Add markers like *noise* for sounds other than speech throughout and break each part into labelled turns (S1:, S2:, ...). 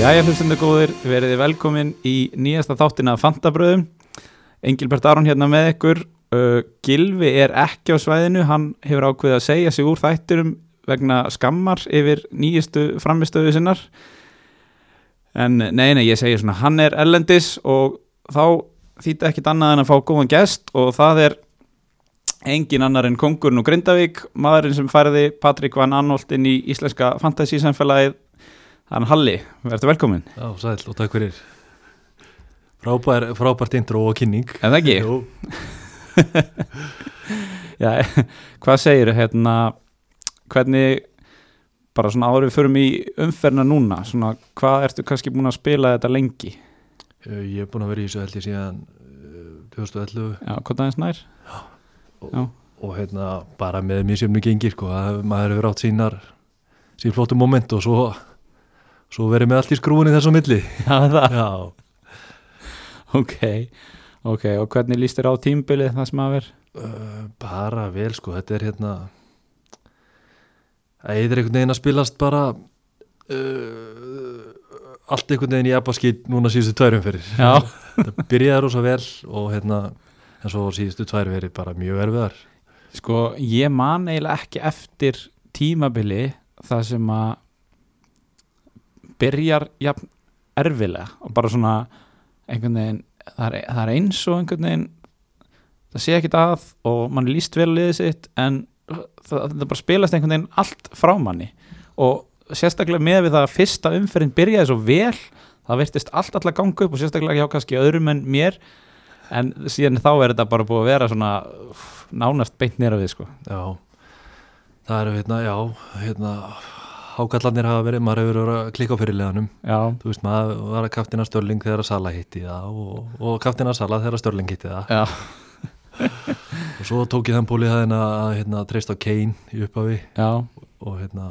S1: Jæja hlustendur góðir, verið þið velkomin í nýjasta þáttina af Fantabröðum Engilbert Aron hérna með ykkur uh, Gilvi er ekki á svæðinu, hann hefur ákveðið að segja sig úr þætturum vegna skammar yfir nýjustu framistöðu sinnar En nei, nei, ég segi svona, hann er ellendis og þá þýtti ekkit annað en að fá góðan gest og það er engin annar en kongurinn og Grindavík, maðurinn sem færði Patrik Van Anolt inn í íslenska fantasísamfélagið, hann Halli, verður velkomin
S2: Já, sæl og takk fyrir Frábær, frábært intro og kynning
S1: En það ekki?
S2: Jú,
S1: Já, *laughs* hvað segir hérna, hvernig bara svona áður við förum í umferna núna, svona hvað ertu kannski búin að spila þetta lengi?
S2: eh, Ég er búin að vera í þessu held ég síðan eh, 2011
S1: Já, hvað aðeins nær? Já.
S2: og hérna bara með misjöfnu gengir sko, að maður hefur átt sínar sín flóttu moment og svo svo verið með allt í skrúinu þess á milli
S1: Já, það.
S2: Já,
S1: Ok, ok, og hvernig líst þér á tímbilið það sem að vera?
S2: uh, bara vel sko, þetta er hérna Það er einhvern veginn að spilast bara uh, allt einhvern veginn í abbaskýt núna síðustu tværum fyrir
S1: Já.
S2: það byrjaði rosa vel og hérna en svo síðustu tvær verið bara mjög erfiðar
S1: Sko, ég man eiginlega ekki eftir tímabili það sem að byrjar jafn erfilega og bara svona einhvern veginn, það er, það er eins og einhvern veginn það sé ekkit að og mann er líst vel á liðið sitt en það, það bara spilast einhvern veginn allt frá manni og sérstaklega með við það að fyrsta umferðin byrjaði svo vel það virtist allt alltaf ganga upp og sérstaklega hjá kannski öðrum en mér en síðan þá er þetta bara búið að vera svona uff, nánast beint nýra við sko
S2: já það eru hérna, já hérna hákallarnir hafa verið, maður hefur verið að klikka á fyrirleganum,
S1: já,
S2: þú veist maður var að kaftina Störling þegar að Sala hitti það og, og kaftina Sala þegar að Störling hitti það
S1: já,
S2: og svo tók ég þann búlið að hérna, að, hérna treysta á Kane í upphafi
S1: já,
S2: og hérna,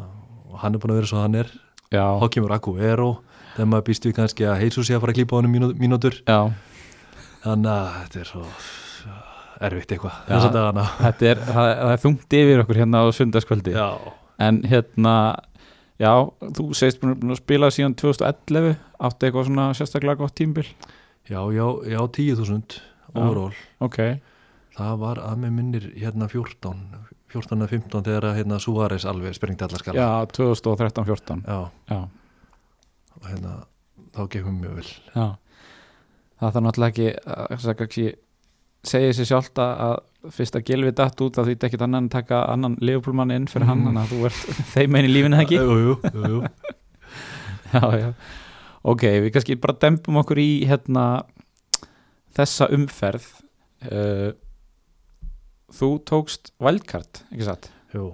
S2: og hann er búin að vera svo hann er
S1: já,
S2: þá kemur Akku Ero þegar maður býst við kannski að heisu sé að fara að klípa á honum mínú- mínútur
S1: já.
S2: þannig að þetta er svo erfitt eitthvað
S1: Já.
S2: þessa dagana
S1: þetta er, það, það er þungt yfir okkur hérna á sundarskvöldi
S2: Já,
S1: en hérna, já, þú segist búin búin að spila síðan 2011 áttu eitthvað svona sérstaklega gott tímbil
S2: já, já, já
S1: Já.
S2: 10.000 overall,
S1: ok,
S2: það var að með minnir hérna 14 14 að 15 þegar að hérna Suárez alveg springti allar skala
S1: já, 2013-14
S2: já,
S1: já,
S2: og hérna þá gekum mjög vel
S1: já það þarf náttúrulega ekki, að- þess að ekki segja sér sjálft að að fyrst að gilvi datt út að því ekki annan að taka annan leifupúlmann inn fyrir hann
S2: Mhm.
S1: þannig að þú ert *laughs* þeim einn í lífinu eða ekki
S2: Jú, jú, jú, jú.
S1: já, já. ok, við kannski bara dempum okkur í hérna þessa umferð uh, þú tókst wildcard, ekki satt
S2: jú.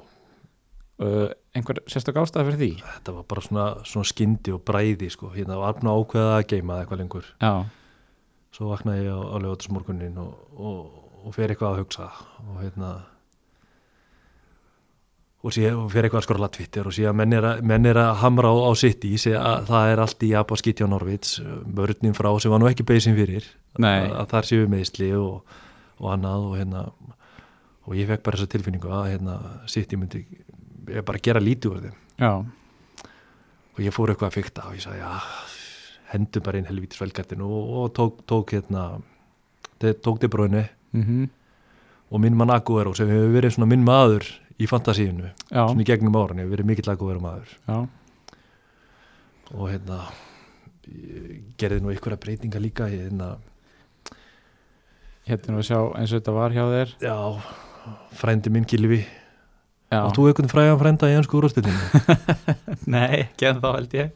S1: uh, einhver sérstök ástæða fyrir því
S2: þetta var bara svona, svona skyndi og bræði sko. hérna var alveg ákveða að geima eitthvað lengur
S1: já,
S2: svo vaknaði ég á, á lögatismorgunin og, og, og fer eitthvað að hugsa og hérna og, sé, og fer eitthvað að skorla Twitter og sé að menn er að, menn er að hamra á, á sitt í að það er allt í Abba Skitjá Norvits vörninn frá sem var nú ekki beisin fyrir
S1: Nei.
S2: að, að þar séu meðisli og, og annað og hérna og ég fekk bara þessa tilfinningu að hérna sitt ég myndi ég bara gera lítið úr þeim
S1: já,
S2: og ég fór eitthvað að fykta og ég sagði já, hendur bara inn helvítis velgættinu og, og tók, tók hérna te, tók til bróinu
S1: mm
S2: og minn mann Aguero sem hefur verið svona minn maður í fantasíinu,
S1: já,
S2: svona í gegnum árun hefur verið mikill Aguero maður
S1: já,
S2: og hérna ég gerði nú einhverja breytinga líka ég, hérna,
S1: hérna erum við að sjá eins og þetta var hjá þér
S2: já, frændi minn Gilvi
S1: já,
S2: og þú einhvern fræðan frænda í ennsku
S1: *laughs*
S2: úrvastillinu
S1: nei, ekki en þá held ég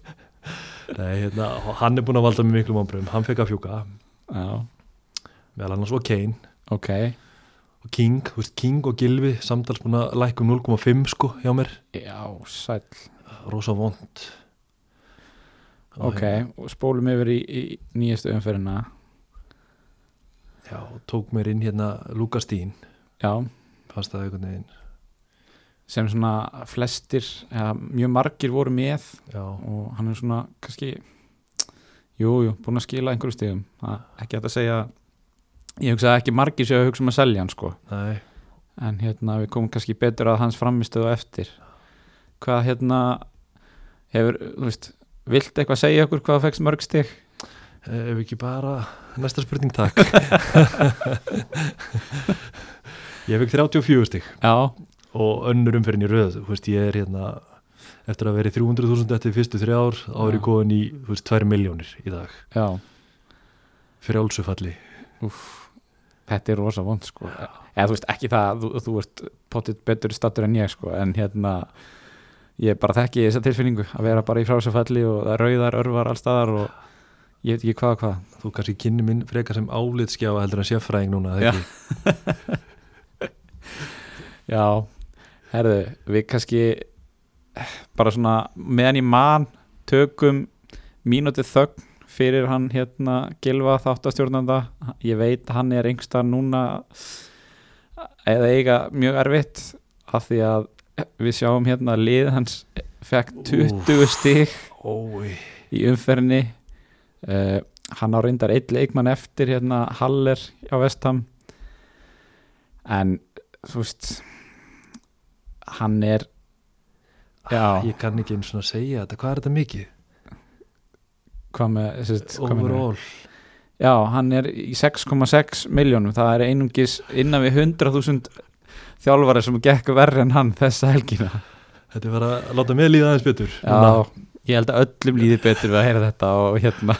S2: Nei, hérna, hann er búin að valda mér miklu mánbröðum hann fekk að fjúka,
S1: já,
S2: meðal annars og Kane
S1: ok
S2: og King, þú veist, King og Gilvi samtals búin að lækka um 0,5 sko hjá mér
S1: já, sæll,
S2: rosa hérna, vond
S1: ok og spólum yfir í, í nýjastu umferðina
S2: Já, og tók mér inn hérna Lukas Dín
S1: já,
S2: fannst það einhvern veginn
S1: sem svona flestir, eða mjög margir voru með
S2: Já,
S1: og hann er svona kannski jújú, jú, búin að skila einhverju stigum það er ekki hægt að segja ég hugsa að ekki margir séu að hugsa um að selja hann sko
S2: nei
S1: en hérna við komum kannski betur að hans framistöðu á eftir hvað hérna hefur, þú veist Vilt eitthvað segja okkur hvað fegst mörg stig?
S2: Eh, Ef ekki bara, næsta spurning takk *laughs* Ég fekk 34 stig
S1: Já,
S2: og önnur umferðin í röð, þú veist, ég er hérna eftir að vera í 300.000 eftir fyrstu þrjá ár, þá er
S1: Já.
S2: ég góðin í, þú veist, 2 miljónir í dag,
S1: já
S2: fyrir álsufalli
S1: Úff, þetta er rosa vond sko eða þú veist ekki það að þú, þú ert potið betur stattur en ég sko en hérna ég bara þekki þessa tilfinningu að vera bara í frásafalli og það rauðar örvar allstaðar og ég veit ekki hvað og hvað
S2: Þú kannski kynni minn frekar sem álitskjáfa heldur en sérfræðing núna,
S1: Já.
S2: þegar ekki
S1: já, herðu, við kannski bara svona meðan ég man tökum mínútið þögn fyrir hann hérna Gilva þáttastjórnanda ég veit hann er yngsta núna eða eiga mjög erfitt af því að við sjáum hérna að lið hans fekk 20 stig
S2: Ói,
S1: í umferðinni uh, hann á reyndar eitt leikmann eftir hérna Haller á Vestham en þú veist hann er já,
S2: Ah, ég kann ekki einu svona að segja þetta, hvað er þetta mikið?
S1: hvað með, sérst, hvað með
S2: Overall
S1: já, hann er í 6,6 miljónum, það er einungis innan við 100.000 þjálfari sem gekk verri en hann þessa helgina
S2: Þetta er bara að láta mig líða aðeins betur
S1: Já, ég held að öllum líði betur við að heyra þetta og hérna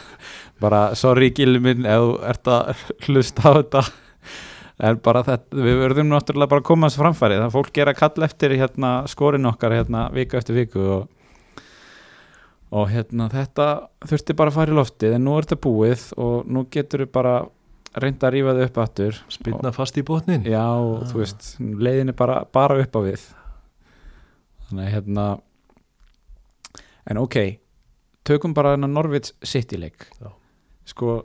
S1: bara sorry gilmi minn ef þú ert að hlusta á þetta en bara þetta, við verðum náttúrulega bara að koma þessu framfæri, það fólk er að kalla eftir hérna skorinn okkar hérna viku eftir viku og, og hérna þetta þurfti bara að fara í loftið en nú er þetta búið og nú getur við bara reynda að rífa þau upp aftur
S2: Spinna fast í botnin
S1: Já, og þú
S2: Ah.
S1: veist, leiðin er bara, bara upp á við Þannig að hérna En ok Tökum bara hennar Norvits City-leik
S2: Já.
S1: Sko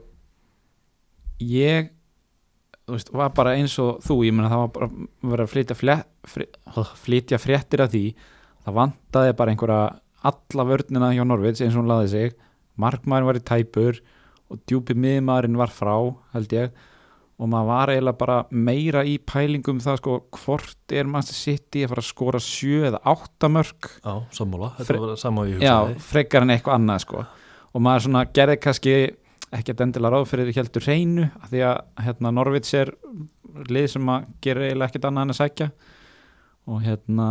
S1: Ég þú veist, var bara eins og þú ég meina það var bara verið að flytja, fle, fri, flytja fréttir af því það vantaði bara einhverja alla vörnina hjá Norvits eins og hún laði sig markmaðurinn var í tæpur og djúpi miðmaðurinn var frá held ég og maður var eiginlega bara meira í pælingum það sko hvort er Manchester City að fara að skora sjö eða átta mörg
S2: Já, sammála, þetta
S1: Fre-
S2: var sammála ég
S1: já,
S2: hugsaði
S1: frekar en eitthvað annað sko og maður svona gerði kannski ekkert endilega ráð fyrir heldur hreinu af því að hérna Norvits er lið sem að gera eiginlega ekkert annað en að sækja og hérna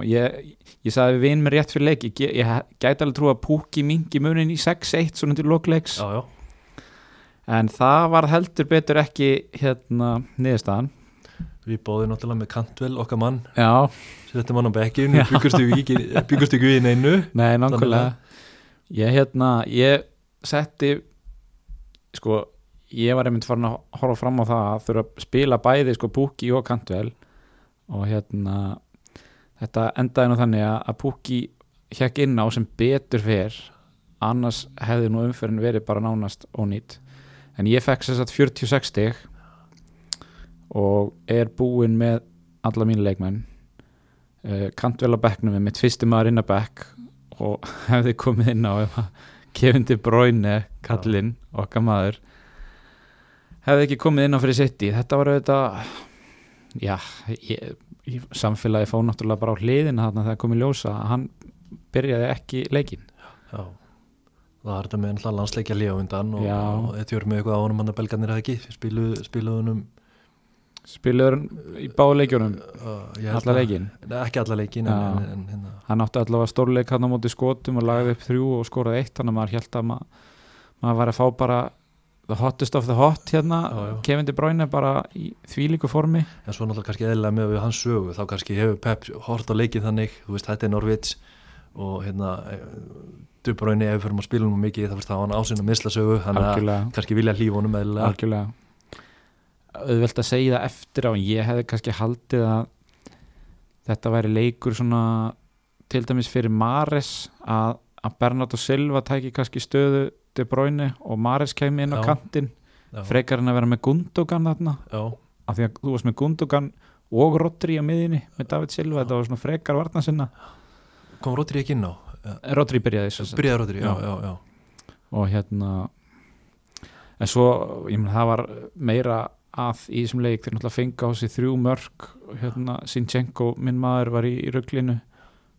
S1: ég, ég sagði við vinn mér rétt fyrir leik ég, ge- ég gæti alveg trú að púki mingi munin í 6-1 svona til lokleiks
S2: Já, já,
S1: en það var heldur betur ekki hérna niðurstaðan
S2: við bóðum náttúrulega með Cantwell, okkar mann
S1: já,
S2: Settum hann á bekkin, byggust ekki
S1: *laughs*
S2: byggust ekki við inn einu
S1: Nei,
S2: Þannig
S1: nákvæmlega Ég hérna, ég setti sko, ég var einmitt farin að horfa fram á það að þurfa að spila bæði sko Pukki og Kantvel og hérna þetta endaði nú þannig að, að Pukki hekk inn á sem betur fer annars hefði nú umferðin verið bara nánast ónýtt en ég fekk sér satt 46 stig og er búinn með alla mínu leikmenn uh, Kantvel á bekknum er mitt fyrsti maður inn að bekk og *laughs* hefði komið inn á ef að Kevin De Bruyne kallinn, okkar maður hefði ekki komið inn á fyrir sitt þetta var auðvitað já, ég, ég, samfélagi fóð náttúrulega bara á hliðina þarna þegar komið ljósa að hann byrjaði ekki leikin
S2: Já, það er þetta með náttúrulega landsleikja líf á undan og,
S1: Já.
S2: og þetta voru með eitthvað á honum hann að belgarnir eða ekki spiluðu spilu honum
S1: spilaður hann í báðu leikjunum
S2: uh, ég held
S1: allar
S2: að-
S1: leikin,
S2: Nei, ekki alla leikin
S1: Já.
S2: en, en, en hérna,
S1: hann átti allavega stórleik hann á móti skotum og lagði upp þrjú og skoraði eitt þannig að maður held að maður, maður var að fá bara the hottest of the hot hérna,
S2: Já, já.
S1: Kevin De Bruyne bara í þvílíku formi
S2: en svo náttúrulega kannski eðlilega með við hans sögu þá kannski hefur Pep hort á leikið þannig þú veist þetta er Norvits og hérna Dubraunni ef við förum að spila nú mikið þá veist það var hann ásinn að misla sögu þannig að
S1: algjörlega
S2: kannski vilja hlýfa honum eðlilega
S1: algjörlega auðvelt að segja það eftir á en ég hefði kannski haldið að þetta væri leikur svona til dæmis fyrir Mares að, að Bernardo Silva tæki kannski stöðu De Bruyne og Mares kemi inn á
S2: Já.
S1: kantinn
S2: já,
S1: frekar en að vera með Gundogan þarna
S2: já,
S1: af því að þú varst með Gundogan og Rodri á miðinni með David Silva þetta var svona frekar varna sinna
S2: kom Rodri ekki inn á
S1: Rodri byrjaði svo sem.
S2: byrjaði Rodri, já,
S1: Já.
S2: já, já
S1: og hérna en svo, ég menn, það var meira að í þessum leik þeir náttúrulega fengi á sig þrjú mörg hérna, Sinchenko, minn maður, var í, í rugglinu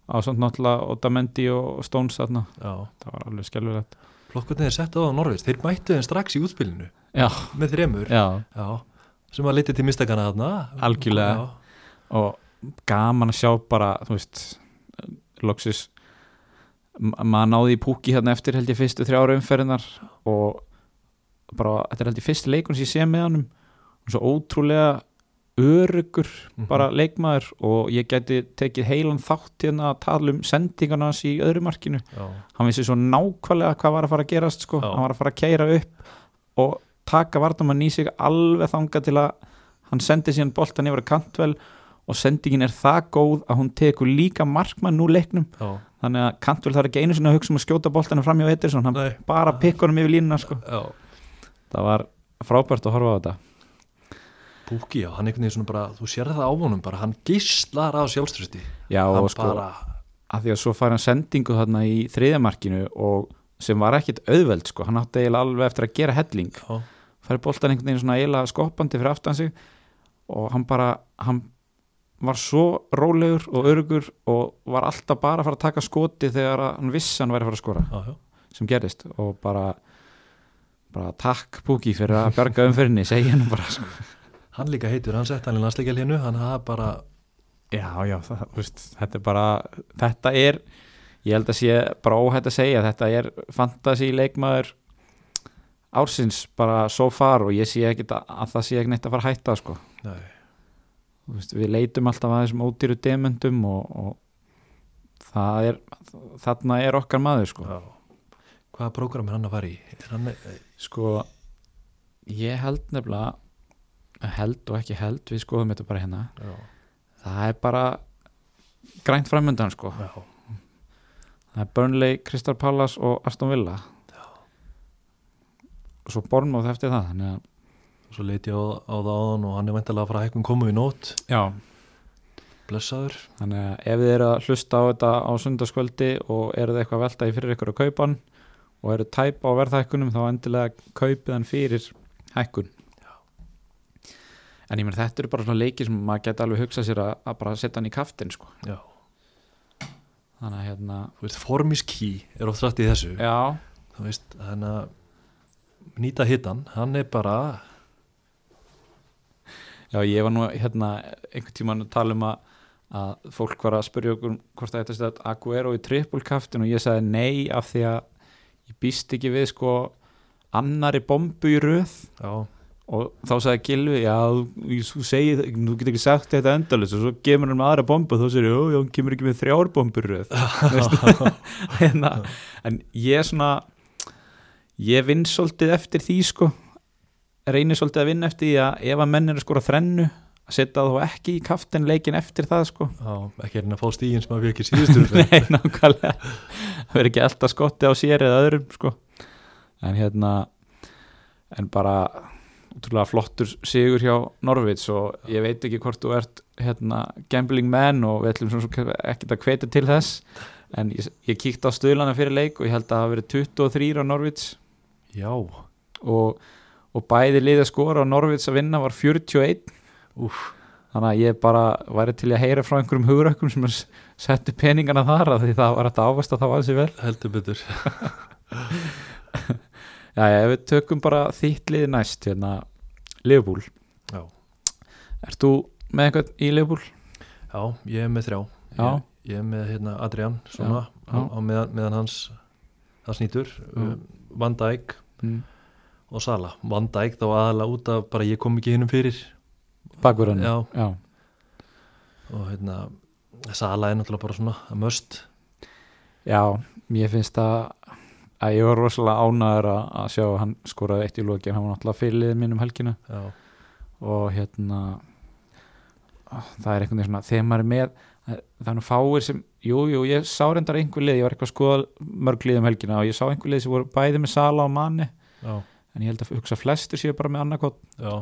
S1: á samt náttúrulega Otamendi og Stones þarna,
S2: já.
S1: það var alveg skelvilegt
S2: Plokkarnir er sett á það á Norvins, þeir mættu þeim strax í útspilinu
S1: Já,
S2: með þremur,
S1: já,
S2: já, sem að liti til mistakana þarna.
S1: Algjörlega.
S2: Já.
S1: og gaman að sjá bara, þú veist loksis ma- maður náði í púki hérna eftir held ég fyrstu þrjára umferðinar og bara, þetta er held ég fyrsti leikun sem ég sé með honum og svo ótrúlega örugur
S2: Mhm.
S1: *laughs* bara leikmaður og ég gæti tekið heilan þátt hérna að tala um sendingana hans í öðru markinu
S2: Já,
S1: hann vissi svo nákvæmlega hvað var að fara að gerast sko.
S2: Já.
S1: hann var að fara að keira upp og taka vartamann í sig alveg þanga til að hann sendi síðan boltan yfir að kantvel og sendingin er það góð að hún tekur líka markmann úr leiknum
S2: já.
S1: þannig að kantvel þarf ekki einu sinni að hugsa um að skjóta boltanum fram hjá Ederson, hann
S2: Nei,
S1: bara pikk honum yfir línuna sko.
S2: já.
S1: það var frábært að horfa á þetta
S2: Púki, já, hann einhvern veginn svona bara, þú sér það á honum bara, hann gíslar á sjálfströsti.
S1: Já,
S2: hann
S1: og sko,
S2: bara,
S1: að því að svo fær hann sendingu þarna í þriðamarkinu og sem var ekkit auðveld sko. hann átti eiginlega alveg eftir að gera helling
S2: já,
S1: fær boltan einhvern veginn svona eiginlega skoppandi fyrir aftan sig og hann bara hann var svo rólegur og örugur og var alltaf bara að fara að taka skoti þegar að hann vissi að hann væri að fara að skora
S2: já, já.
S1: sem gerist og bara bara takk Púki fyrir að bjarga umfyrinni segja hann bara sko.
S2: Hann líka heitur, hann sett hann í landsleikjalinu, hann hafa bara,
S1: já já það, þú veist, þetta er bara þetta er ég held að sé bara óhætt að segja þetta er fantasy leikmaður ársins bara so far og ég sé ekkit að, að það sé ekki neitt að fara að hætta sko
S2: nei,
S1: Þú veist, við leitum alltaf að þessum ódýru demöndum og, og það er þarna er okkar maður sko.
S2: já. Hvaða prógram er hann að fara í? Er hann,
S1: sko ég held nefnilega held og ekki held, við skoðum þetta bara hérna
S2: já,
S1: það er bara grænt framöndan sko
S2: já.
S1: það er Burnley, Crystal Palace og Aston Villa og svo Bournemouth eftir það þannig að
S2: Svo leit ég á, á það áðan og hann er væntalega að fara að hækkum komu í nót,
S1: já,
S2: blessaður.
S1: Þannig að ef þið eru að hlusta á þetta á sundarskvöldi og eru þið eitthvað að velta í fyrir ykkur að kaupa hann og eru tæp á verðhækkunum þá endilega kaupið hann fyrir hækkun. En ég meina þetta eru bara svona leiki sem maður geta alveg hugsað sér að, að bara setja hann í kaftin sko.
S2: Já.
S1: Þannig að hérna,
S2: Þú veist, formiski er oft rætt í þessu.
S1: já,
S2: Þú veist, hann að nýta hittan, hann er bara,
S1: já ég var nú hérna einhvern tíman að tala um að, að fólk var að spyrja okkur um hvort það eitthvað að Aguero í trippulkaftin og ég sagði nei af því að ég býst ekki við sko annari bombu í röð
S2: já,
S1: og þá sagði Gilvi já, þú- þú segir, þú getur ekki sagt þetta endalist og svo kemur hann með aðra bombu og þá segir ég, já, hann kemur ekki með þrjár bombur í röð." Veistu? *laughs* en, að- en ég svona ég vinn svolítið eftir því sko reynir svolítið að vinna eftir því að ef að menn eru að skora þrennu að setja þá ekki í kaftin leikin eftir það sko
S2: já, ekki er hann að fá stígin sem að við ekki
S1: *laughs*
S2: síðustu.
S1: Nei, nákvæmlega Það verður ekki alltaf skotti á sér eða öðrum sko. En hérna En bara útrúlega flottur sigur hjá Norvits og ég veit ekki hvort þú ert hérna, gambling man og við ætlum svo sem ekki að hvetja til þess en ég, ég kíkti á stöðlana fyrir leik og ég held að það hafa verið 23 á Norvits
S2: Já,
S1: og, og bæði liðið skora og Norvits að vinna var 41
S2: úf,
S1: þannig að ég bara væri til að heyra frá einhverjum hugrökkum sem að s- settu peningana þar að því það var hægt að ávast að það var þessi vel
S2: heldur betur.
S1: Já, ef við tökum bara þitt lið næst hérna, Leifbúl
S2: Já.
S1: Ert þú með eitthvað í Leifbúl?
S2: Já, ég er með þrjá
S1: Já.
S2: ég, ég er með hérna Adrian svona,
S1: já.
S2: Á, á meðan, meðan hans það snýtur um, Van Dijk
S1: Mm.
S2: og Sala Van Dijk þá aðalega út af bara ég kom ekki hinnum fyrir
S1: Bakverðan?
S2: Já,
S1: Já,
S2: og hérna Sala er náttúrulega bara svona að möst
S1: já ég finnst að, að ég var rosalega ánæður að, að sjá að hann skoraði eitt í lokin hann var náttúrulega fyrir liðið minn um helgina
S2: Já,
S1: og hérna ah, það er einhvern veginn svona þegar maður er með það það er nú fáir sem, jú, jú, ég sá reyndar einhver lið, ég var eitthvað að skoða mörg lið um helgina og ég sá einhver lið sem voru bæði með Sala og Mani
S2: já,
S1: en ég held að hugsa flestir séu bara með annarkot
S2: já,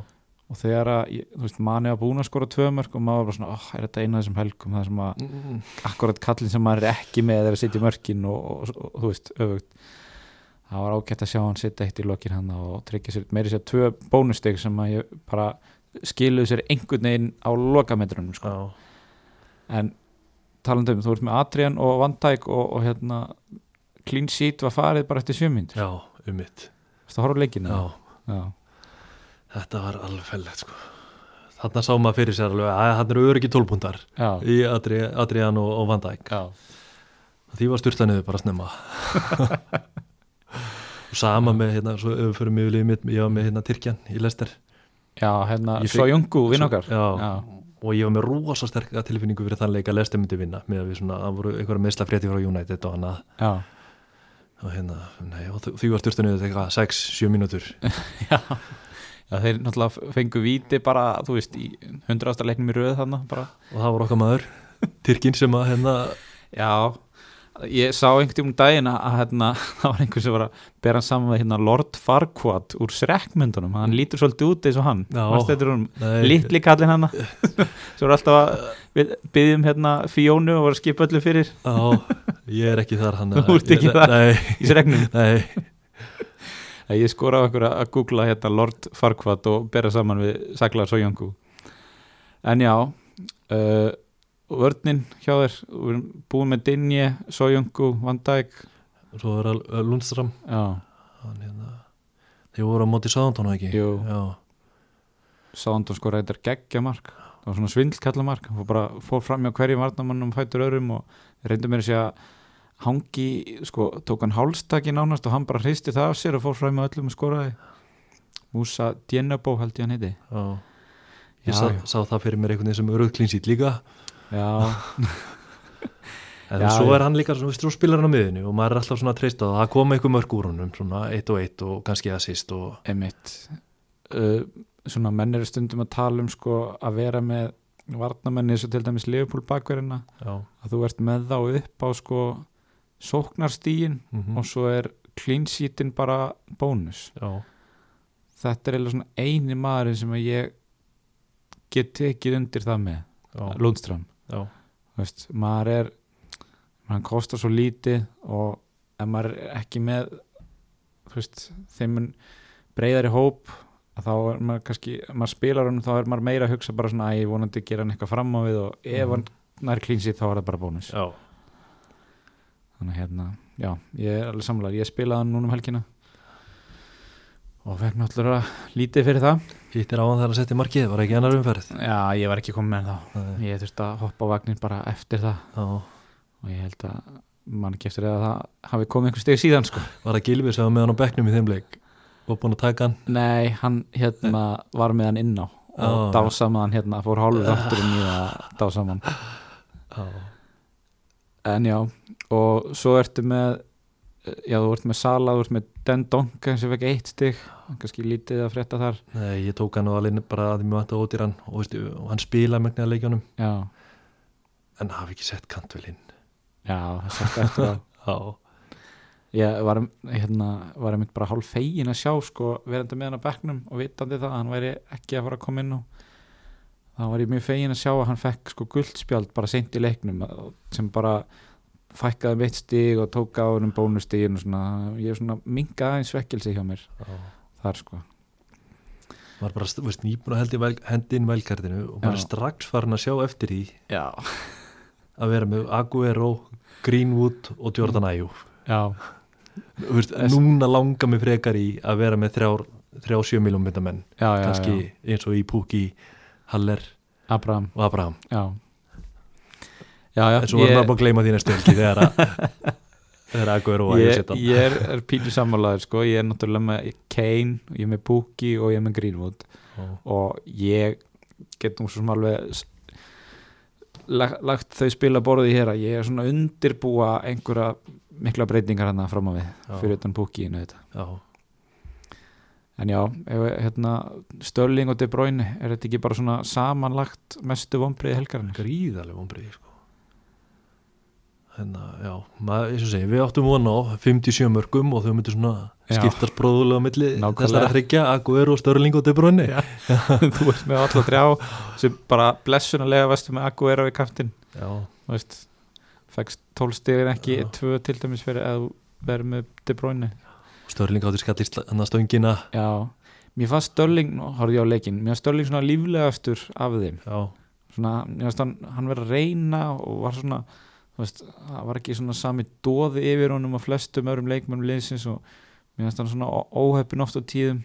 S1: og þegar að, ég- þú veist, manni var búin að skora tvö mörg og maður var bara svona, oh, er þetta eina af þessum helgum það sem að,
S2: Mm,
S1: akkurat kallin sem maður er ekki með er að sitja í mörkin og, og, og þú veist, öfugt það var ágætt að sjá hann sitja eitt í lokin hann og tryggja sér, meiri sér tvö bónusteg sem að ég bara skiluðu sér einhvern veginn á lokametrunum, sko,
S2: já,
S1: en talandi um, þú ert með Adrian og Van Dijk og, og hérna clean sheet var farið bara eftir sjömynd
S2: já, um mitt
S1: Þetta horfður leikinu
S2: já,
S1: Já.
S2: þetta var alveg fellegt sko þarna sá maður fyrir sér alveg að hann eru öryggi tólpuntar
S1: Já.
S2: í Adri, Adrian og, og Van Dijk
S1: Já.
S2: því var styrta niður
S1: *laughs*
S2: bara snemma og sama með hérna, svo öfum við liðið mitt ég var með hérna Tyrkjan í Lester
S1: Já, hérna
S2: Ég
S1: Svo
S2: fekk-
S1: Jungu, vinn okkar
S2: já,
S1: Já.
S2: og ég var með rosa sterka tilfinningu fyrir þann leik að Lester myndi vinna með að við svona, það voru einhverja meðsla frétti frá United og annað
S1: Já.
S2: og hérna, nei, og þ- því var styrta niður eitthvað 6-7 mínútur
S1: Já. Já, þeir náttúrulega f- fengu víti bara, þú veist, í hundrasta leiknum í röð þarna bara.
S2: og það var okkar maður Tyrkin sem að hérna
S1: Já, ég sá einhvern tímum daginn að, að hérna, *laughs* það var einhver sem var að bera hann saman við hérna Lord Farquaad úr Shrek-myndunum, hann lítur svolítið út eins og hann,
S2: Já.
S1: varst þetta um
S2: nei,
S1: litli kallinn hann svo er alltaf að við byggjum hérna Fjónu og var að skipa öllu fyrir
S2: á, ég er ekki þar hann
S1: Þú ert ekki þar. í
S2: nei,
S1: Shreknum.
S2: *laughs* nei,
S1: Ég skoraði okkur að að googla hérna Lord Farquaad og bera saman við Saglar Sojangu. En já, uh, vörninn hjá þér, við erum búin með Dinje, Sojangu, Van Dijk,
S2: svo var al- uh, Lundström
S1: já,
S2: hann hérna þeir voru á móti Sáðantón og ekki
S1: Jú.
S2: já,
S1: Sándon sko reyndar geggja mark það var svona svindlkalla mark hann fór bara fór fram hjá hverjum varnamannum fætur öðrum og reyndar mér að segja hangi, sko, tók hann hálstakki nánast og hann bara hristi það af sér og fór fram hjá öllum og skoraði Musa Dienabó held ég hann heiti
S2: já.
S1: Já,
S2: ég sá,
S1: já.
S2: sá það fyrir mér einhvern veginn sem öruð klínsít líka
S1: já,
S2: en
S1: Já,
S2: svo
S1: já.
S2: er hann líka svona, veist þú spilar hann á miðinu og maður er alltaf svona að treysta á það það koma einhver mörg úr honum, svona eitt og eitt og kannski assist og
S1: emitt uh, svona menn eru stundum að tala um sko að vera með varnamenni eins og til dæmis Leopold bakverðina
S2: já,
S1: að þú ert með þá upp á sko sóknarstígin
S2: mm
S1: og svo er clean sheetin bara bónus
S2: já.
S1: þetta er eiginlega svona eini maðurinn sem að ég get tekið undir það með
S2: já,
S1: Lundström,
S2: já.
S1: þú veist, maður er hann kostar svo lítið og ef maður er ekki með þú veist, þeim mun breyðari hóp að þá er maður kannski, ef maður spilar hann þá er maður meira að hugsa bara svona að ég vonandi gera hann eitthvað fram á við og ef
S2: Mhm.
S1: hann nær clean sheet þá er það bara bónus
S2: já.
S1: þannig að hérna, já, ég er alveg samlega ég spilaði hann núna um helgina og fekk náttúrulega lítið fyrir það
S2: hittir á hann þegar hann setti markið, var ekki annar umferð
S1: já, ég var ekki komið með þá
S2: Nei,
S1: ég þurfti að hoppa á vagnin bara eftir það
S2: já.
S1: og ég held að mann ekki eftir að það hafi komið einhver steg síðan sko
S2: var það Gilvi sem var með hann á bekknum í þeim leik og búin að taka hann
S1: nei, hann hérna var með hann inná og
S2: Ó.
S1: dásamaðan hérna, fór hálfur þátturinn í það dásamaðan
S2: já,
S1: En já, og svo ertu með já, þú ert með Sala, þú ert með Dendonka sem fekk eitt stig, kannski lítið að frétta þar
S2: Nei, ég tók hann og alveg bara að því mjög að ódýra hann og, veist, og hann spilaði megnaði leikjónum
S1: já,
S2: en hafi ekki sett kantvel inn
S1: já, það sagt eftir það
S2: já,
S1: ég var, hérna, var einmitt bara hálf fegin að sjá sko verandi með hann á bekknum og vitandi það að hann væri ekki að fara að koma inn og þá var ég mjög fegin að sjá að hann fekk sko guldspjald bara seint í leiknum að- sem bara fækkaði mitt stig og tók á hennum bónustigin og svona, ég er svona mingaði aðeins vekkelsi hjá mér
S2: já.
S1: þar sko
S2: maður bara, st- veist, nýbúin að hendi vel, hendi inn velkartinu og
S1: Já.
S2: maður er strax farin að sjá eftir því
S1: já,
S2: að vera með Aguero, Greenwood og Jordan
S1: Mm.
S2: Ayew
S1: já,
S2: Þú veist,
S1: Es-
S2: núna langar mig frekar í að vera með þrjár, þrjá sjö miljón myndamenn
S1: já, já,
S2: kannski eins og í Pukki, Haller
S1: Abraham,
S2: og Abraham
S1: já já, já,
S2: en svo var maður bara að gleyma því næstu helgi þegar, að,
S1: *laughs*
S2: þegar Aguero og Ayew
S1: ég,
S2: setja hann
S1: ég er, er pínu sammálaður sko, ég er náttúrulega með Kane, ég er með Pukki og ég er með Greenwood
S2: Já.
S1: og ég get nú svo sem alveg s- lag, lagt þau spila borðið hér að ég er svona að undirbúa einhverja mikla breytingar hann fram á við
S2: Já.
S1: fyrir utan Pukki inn auðvitað
S2: Já.
S1: En já, ef, hérna, Störling og De Bruyne, er þetta ekki bara svona samanlagt mestu vombriði helgarinn?
S2: gríðarlega vonbrið sko. þannig að já maður, eins og segi, við áttum vona á 57 mörgum og þau myndu svona
S1: Já.
S2: skiptast bróðulega á milli
S1: Nákvæmlega.
S2: þessar að hryggja Aguero, Störling og De Bruyne
S1: Já. *laughs* Þú ert með alla þrjá sem bara blessunarlega vestu með Aguero í kaftin
S2: Já,
S1: þú veist fækst 12 stig en ekki
S2: Já.
S1: tvö til dæmis fyrir að þú verður með De Bruyne
S2: og Störling átti skalli hann að hérna stöngina
S1: já, mér fannst Störling, nú horfði ég á leikin mér fannst Störling svona líflegastur af þeim
S2: já,
S1: svona, ég veist hann, hann verið að reyna og var svona þú veist, það var ekki svona sami dóði yfir honum og flestum öðrum leikmönnum liðsins og mér finnst hann svona óheppin oft á tíðum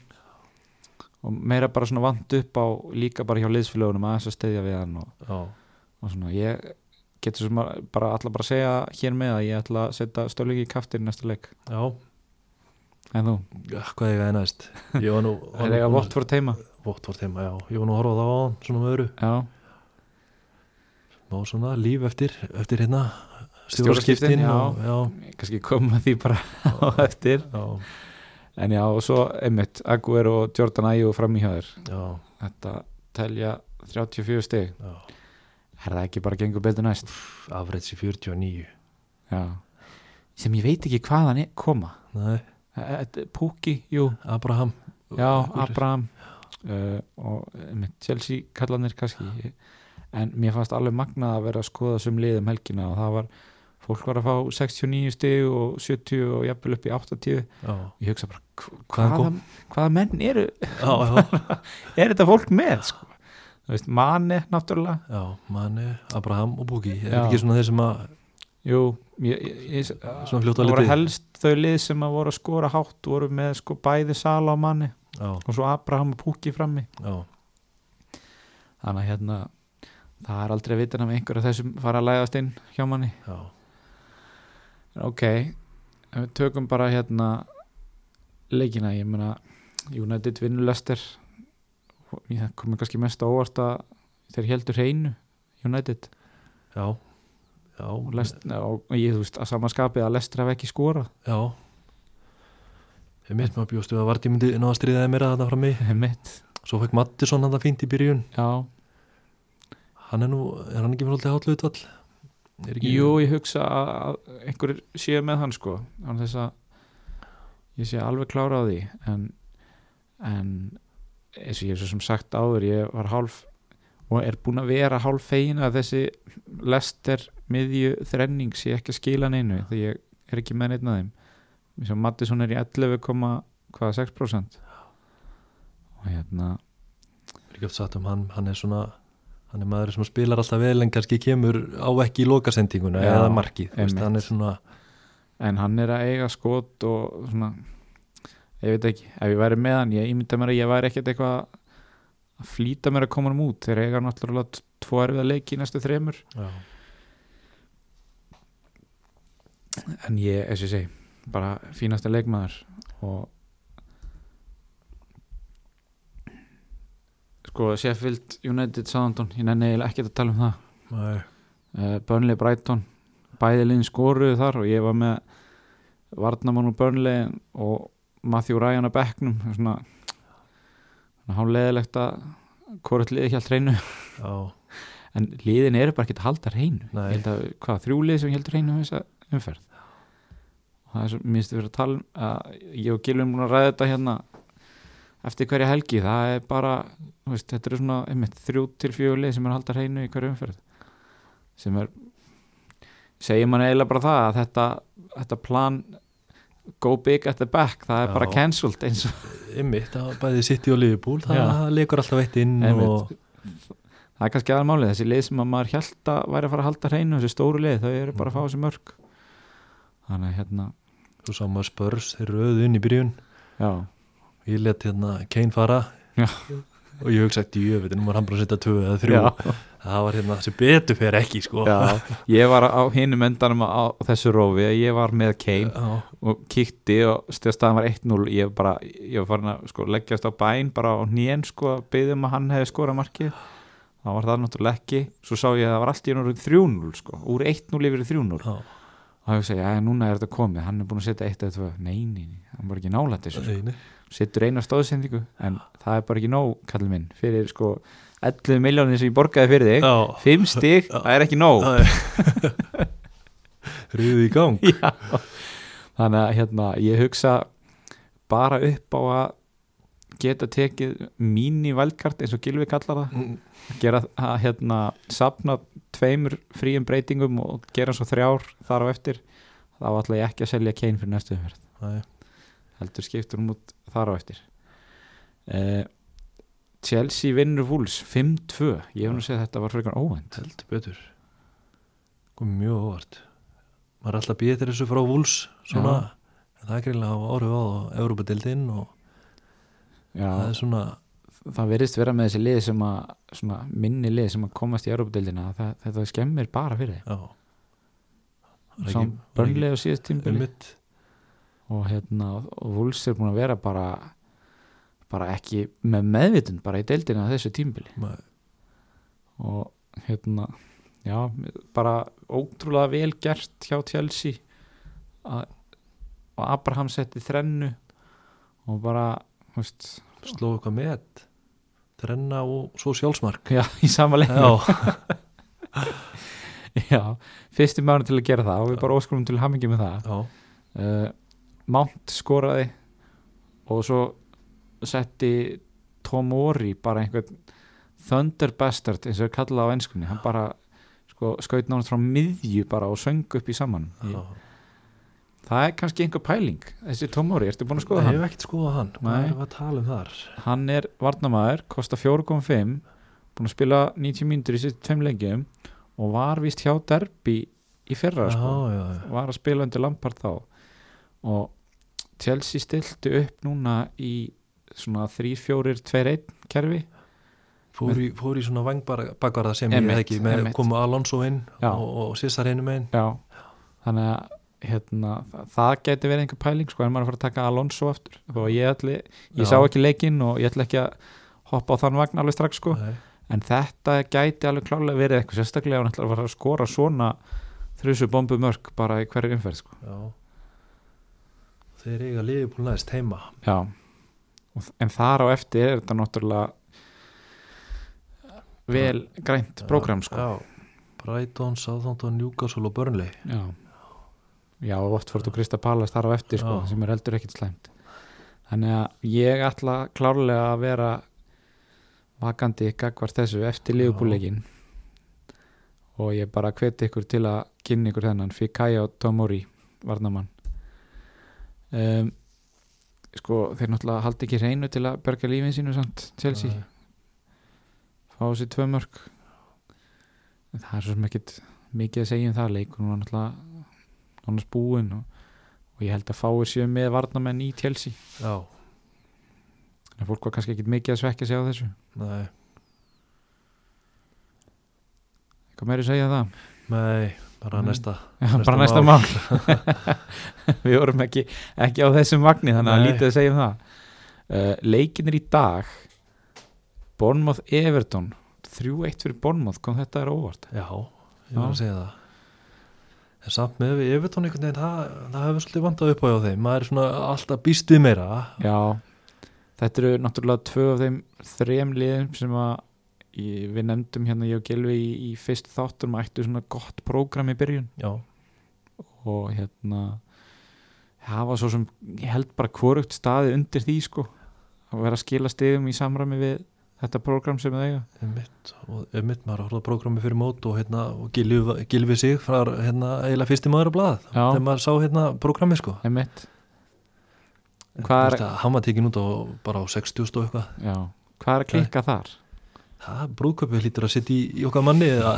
S1: og meira bara svona vant upp á líka bara hjá liðsfélagunum aðeins að steyðja við hann og,
S2: já,
S1: og svona ég getur sem að- bara alltaf bara að segja hér með að ég ætla að setja stöðleiki í kaftir í næsta leik,
S2: já,
S1: en þú
S2: já, hvað ég veið næst ég var nú
S1: *laughs* það er eiga vott fyrir teima
S2: vott fór teima, já, ég var nú að horfa á það á hann svona með öru,
S1: já,
S2: má svona líf eftir eftir hérna
S1: Stjóraskiptin,
S2: stjórnskiptin
S1: já.
S2: og, já,
S1: kannski koma því bara *laughs* á eftir
S2: já,
S1: en já, og svo einmitt Aguero og Jordan Ayew fram í hjá þér
S2: já,
S1: þetta telja 34 stig
S2: já.
S1: er það ekki bara gengur betur næst
S2: afræts í 49
S1: já. sem ég veit ekki hvaðan er koma
S2: nei,
S1: Eh, þetta er Pukki, jú,
S2: Abraham
S1: já, Abraham uh, og með Chelsea kallanir kannski Ég- en mér fannst alveg magnað að vera að skoða sem liðum helgina og það var fólk var að fá 69 stig og 70 og jafnvel upp í 80
S2: já,
S1: ég hugsa bara, hv-
S2: Hvaðan
S1: hvaða, hvaða menn eru
S2: já, já,
S1: er þetta fólk með sko? þú veist, manni náttúrulega
S2: já manni, Abraham og Búki er
S1: Já.
S2: þetta ekki svona þeir sem að
S1: Jú, ég, ég, ég, það
S2: svona fljóta
S1: voru
S2: litið
S1: helst þau lið sem að voru að skora hátt voru með sko bæði Sala á manni
S2: já,
S1: og svo Abraham og Pukki frammi
S2: já,
S1: þannig að hérna það er aldrei að vita nema einhver af þessum fara að læðast inn hjá manni
S2: já,
S1: En ok, ef við tökum bara hérna leikina, ég meina United vinnulestir það komið kannski mest á óvart að þeir heldur hreinu United
S2: já já,
S1: og, lest, og ég þú veist að samanskapið að lestir hafa ekki skora
S2: já ég mitt maður bjóstu að Vardí myndi ná að stríðaði meira þarna frammi
S1: mitt,
S2: svo fekk Mattisson hann það fínt í byrjun
S1: já
S2: hann er nú, er hann ekki með svolítið hátlu utvall er ekki
S1: Jú, ég hugsa að að einhverjir séu með hann sko án þess að ég sé alveg klára á því en, en eins og ég hef svo sem sagt áður ég var hálf og er búin að vera hálf fegin að þessi lester miðju þrenning sé ekki að skila neinu því ég er ekki með neitt af þeim eins og Mattisson er í 11,6% og hérna
S2: er ekki oft sagt um hann, hann er svona hann er maður sem spilar alltaf vel en kannski kemur á ekki í lokasendinguna
S1: Já,
S2: eða markið, þú veist,
S1: einmitt.
S2: hann er svona
S1: en hann er að eiga skot og svona ég veit ekki, ef ég væri með hann ég ímynda mér að ég væri ekkert eitthvað að flýta mér að koma hann út þegar eiga náttúrulega t- tvo erfiða leiki í næstu þremur
S2: já,
S1: en ég, eins og ég segi bara fínasta leikmaður og sko Sheffield United Southampton, ég nenni eiginlega ekkert að tala um það
S2: nei,
S1: uh, Burnley Brighton bæði liðin skoruðu þar og ég var með Varnamann og Burnley og Matthew Ryan að bekknum svona, svona hálfleðilegt að hvort liði hjá hreinu
S2: já,
S1: en liðin eru bara ekki að halda hreinu
S2: Nei.
S1: Ég held að, hvað, þrjú lið sem heldur hreinu um þessa umferð og það er svo minnst við verið að tala um að ég og Gilvin múin að ræða þetta hérna eftir hverja helgi, það er bara þú veist, þetta er svona einmitt, þrjú til fjögur lið sem er að halda hreinu í hverju umferð sem er segir mann eiginlega bara það að þetta, þetta plan go big at the back, það er
S2: Já.
S1: bara cancelled eins og
S2: ymmið, það var bæði City og Liverpool það
S1: Já.
S2: leikur alltaf eitt inn og,
S1: Einmitt. það er kannski aðalmálið þessi lið sem að maður held að væri að fara að halda hreinu þessi stóru lið, þau eru bara að fá þessi mörg þannig að hérna
S2: og sama spörs, þeir röðu inn í byrjun
S1: já,
S2: ég let hérna Kane fara
S1: Já.
S2: og ég hugsa ekki, ég veit, nú var hann bara að setja tvö eða þrjú, það var hérna sem betur fer ekki, sko
S1: já. ég var á hinum endanum á þessu rófi að ég var með Kane
S2: Já,
S1: og kíkti og þegar staðan var 1-0 ég var bara, ég var farin að sko, leggjast á bæn bara á nén sko, byggðum að hann hefði skorað markið þá var það náttúrulega ekki, svo sá ég að það var allt í einu orðið 3-0 sko, úr 1-0 yfir í 3-0
S2: já,
S1: og það hugsa ég, já, núna er þetta komið hann er búin að setja eitt eða tvö, nei, nei, nei hann var ekki nálætt þessu,
S2: einu
S1: setur eina stóðsendingu en það er bara ekki nóg, kallið minn fyrir sko 11 miljónir sem ég borgaði fyrir þig,
S2: Já,
S1: 5 stig það er ekki nóg
S2: það er- *laughs* Rýðu í gang
S1: Já. þannig að hérna, ég hugsa bara upp á að geta tekið mini valkart eins og Gilvi kallar það
S2: Mm,
S1: gera að hérna sapna tveimur fríum breytingum og gera svo þrjár þar á eftir þá ætla ég ekki að selja Kane fyrir næstu umferð
S2: nei,
S1: heldur skiptur hún út þar á eftir uh, Eh, Chelsea vinnur Wolves 5-2 ég hef nú segið að þetta var frekar óvend
S2: heldur betur kom mjög óvart maður er alltaf býðið þessu frá Wolves svona, en það er greiðlega að hafa áhrif á Európa-dildin og það
S1: Já,
S2: er svona
S1: það verðist vera með þessi lið sem að svona, minni lið sem að komast í Europadeildina það, þetta skemmir bara fyrir
S2: já
S1: þeim Sá Burnley á síðast tímbili
S2: ummitt
S1: og hérna og Wolves er búin að vera bara bara ekki með meðvitund bara í deildina á þessu tímbili og hérna já, bara ótrúlega vel gert hjá Chelsea að, og Abraham setti þrennu og bara þú veist, *laughs*
S2: sló eitthvað með trenna og svo sjálfsmark
S1: já, í sama leiknum
S2: já,
S1: Já, fyrsti maður til að gera það og við bara óskulum til hamingi með það
S2: já,
S1: uh, Mount skoraði og svo setti Tom Ori bara einhvern Thunder Bastard eins og er kallað á enskunni hann bara sko, skaut nánast frá miðju bara og söng upp í saman
S2: já.
S1: það er kannski einhver pæling þessi Tom Ori, ertu búin að skoða
S2: ég
S1: hann?
S2: hef ekkert skoðað hann hvað
S1: Nei.
S2: erum við að tala um þar
S1: hann er varnamaður, kostar 4,5 búin að spila 90 mínútur í sér tveim lengjum og var vist hjá derbi í fyrra
S2: já,
S1: sko.
S2: já, já,
S1: var að spila undir Lampard þá og Chelsea stilti upp núna í svona 3-4-2-1 kerfi
S2: fór í, fór í svona vangbakvarða sem ég
S1: Einmitt,
S2: hef ekki með
S1: einmitt.
S2: komu Alonso inn
S1: Já.
S2: og, og Sissar inn um einn
S1: já, þannig að hérna, þa- það geti verið einhver pæling sko en maður er að fara að taka Alonso aftur og ég, ætli, ég
S2: Já.
S1: sá ekki leikinn og ég ætla ekki að hoppa á þann vagn alveg strax sko
S2: Nei.
S1: en þetta gæti alveg klálega verið eitthvað sérstaklega ef hann ætlar að fara að skora svona þrjusu bombu mörg bara í hverju umferð sko.
S2: Já Þeir eiga liðbúl næst heima
S1: já Og- en þar á eftir er þetta náttúrulega vel grænt prógram sko.
S2: Já Brighton, Southampton, Newcastle og Burnley
S1: já. já, og Votford og Krista Pallas þar á eftir sko,
S2: Já.
S1: sem er heldur ekkit slæmt þannig að ég ætla klárlega að vera vakandi gagvart þessu eftir
S2: Já.
S1: liðbúleikin og ég bara hveti ykkur til að kynni ykkur þennan Fikayo Tomori varnamann um, sko þeir náttúrulega haldi ekki reynu til að berga lífin sínu samt Chelsea
S2: Nei.
S1: fá sér tvö mörg en það er svo sem ekkit mikið að segja um það leikur hún var náttúrulega annars búin og, og ég held að fáir sér með varnamenn í tjelsi
S2: Já,
S1: þannig að fólk var kannski ekkit mikið að svekja sig á þessu
S2: nei
S1: eitthvað meiri að segja um það
S2: Nei, bara
S1: Nei.
S2: næsta
S1: Já,
S2: Næsta
S1: *laughs* bara næsta
S2: mál.
S1: mál *laughs* við vorum ekki, ekki á þessum vagni þannig að
S2: Nei.
S1: lítið að segja um það uh, leikin er í dag Bournemouth Everton 3-1 fyrir Bournemouth kom þetta er óvart
S2: Já, ég
S1: Já.
S2: var að segja það En samt með við Evertón einhvern veginn það, það hefur svolítið vantað upp á hjá þeim maður er svona alltaf býst við meira
S1: Já, þetta eru náttúrulega tvö af þeim þrem liðum sem að ég, við nefndum hérna ég og Gilvi í, í fyrstu þáttum ættu svona gott prógram í byrjun
S2: Já,
S1: og hérna hafa svo sem ég held bara hvorugt staði undir því sko að vera að skila stigum í samræmi við þetta prógram sem þau eiga
S2: emitt og emitt maður horfði á prógrami fyrir mót og hérna og gilvi, gilvi sig frá hérna eiginlega fyrsti maður að blað
S1: Já.
S2: þegar maður sá hérna prógrami sko
S1: Einmitt.
S2: Þú
S1: Hvað
S2: veist
S1: er,
S2: að Hann var tekin út á bara á 60 og eitthvað
S1: já, hvað er að klikka þar?
S2: Það brúðköpið hlýtur að sitja í, í okkar manni eða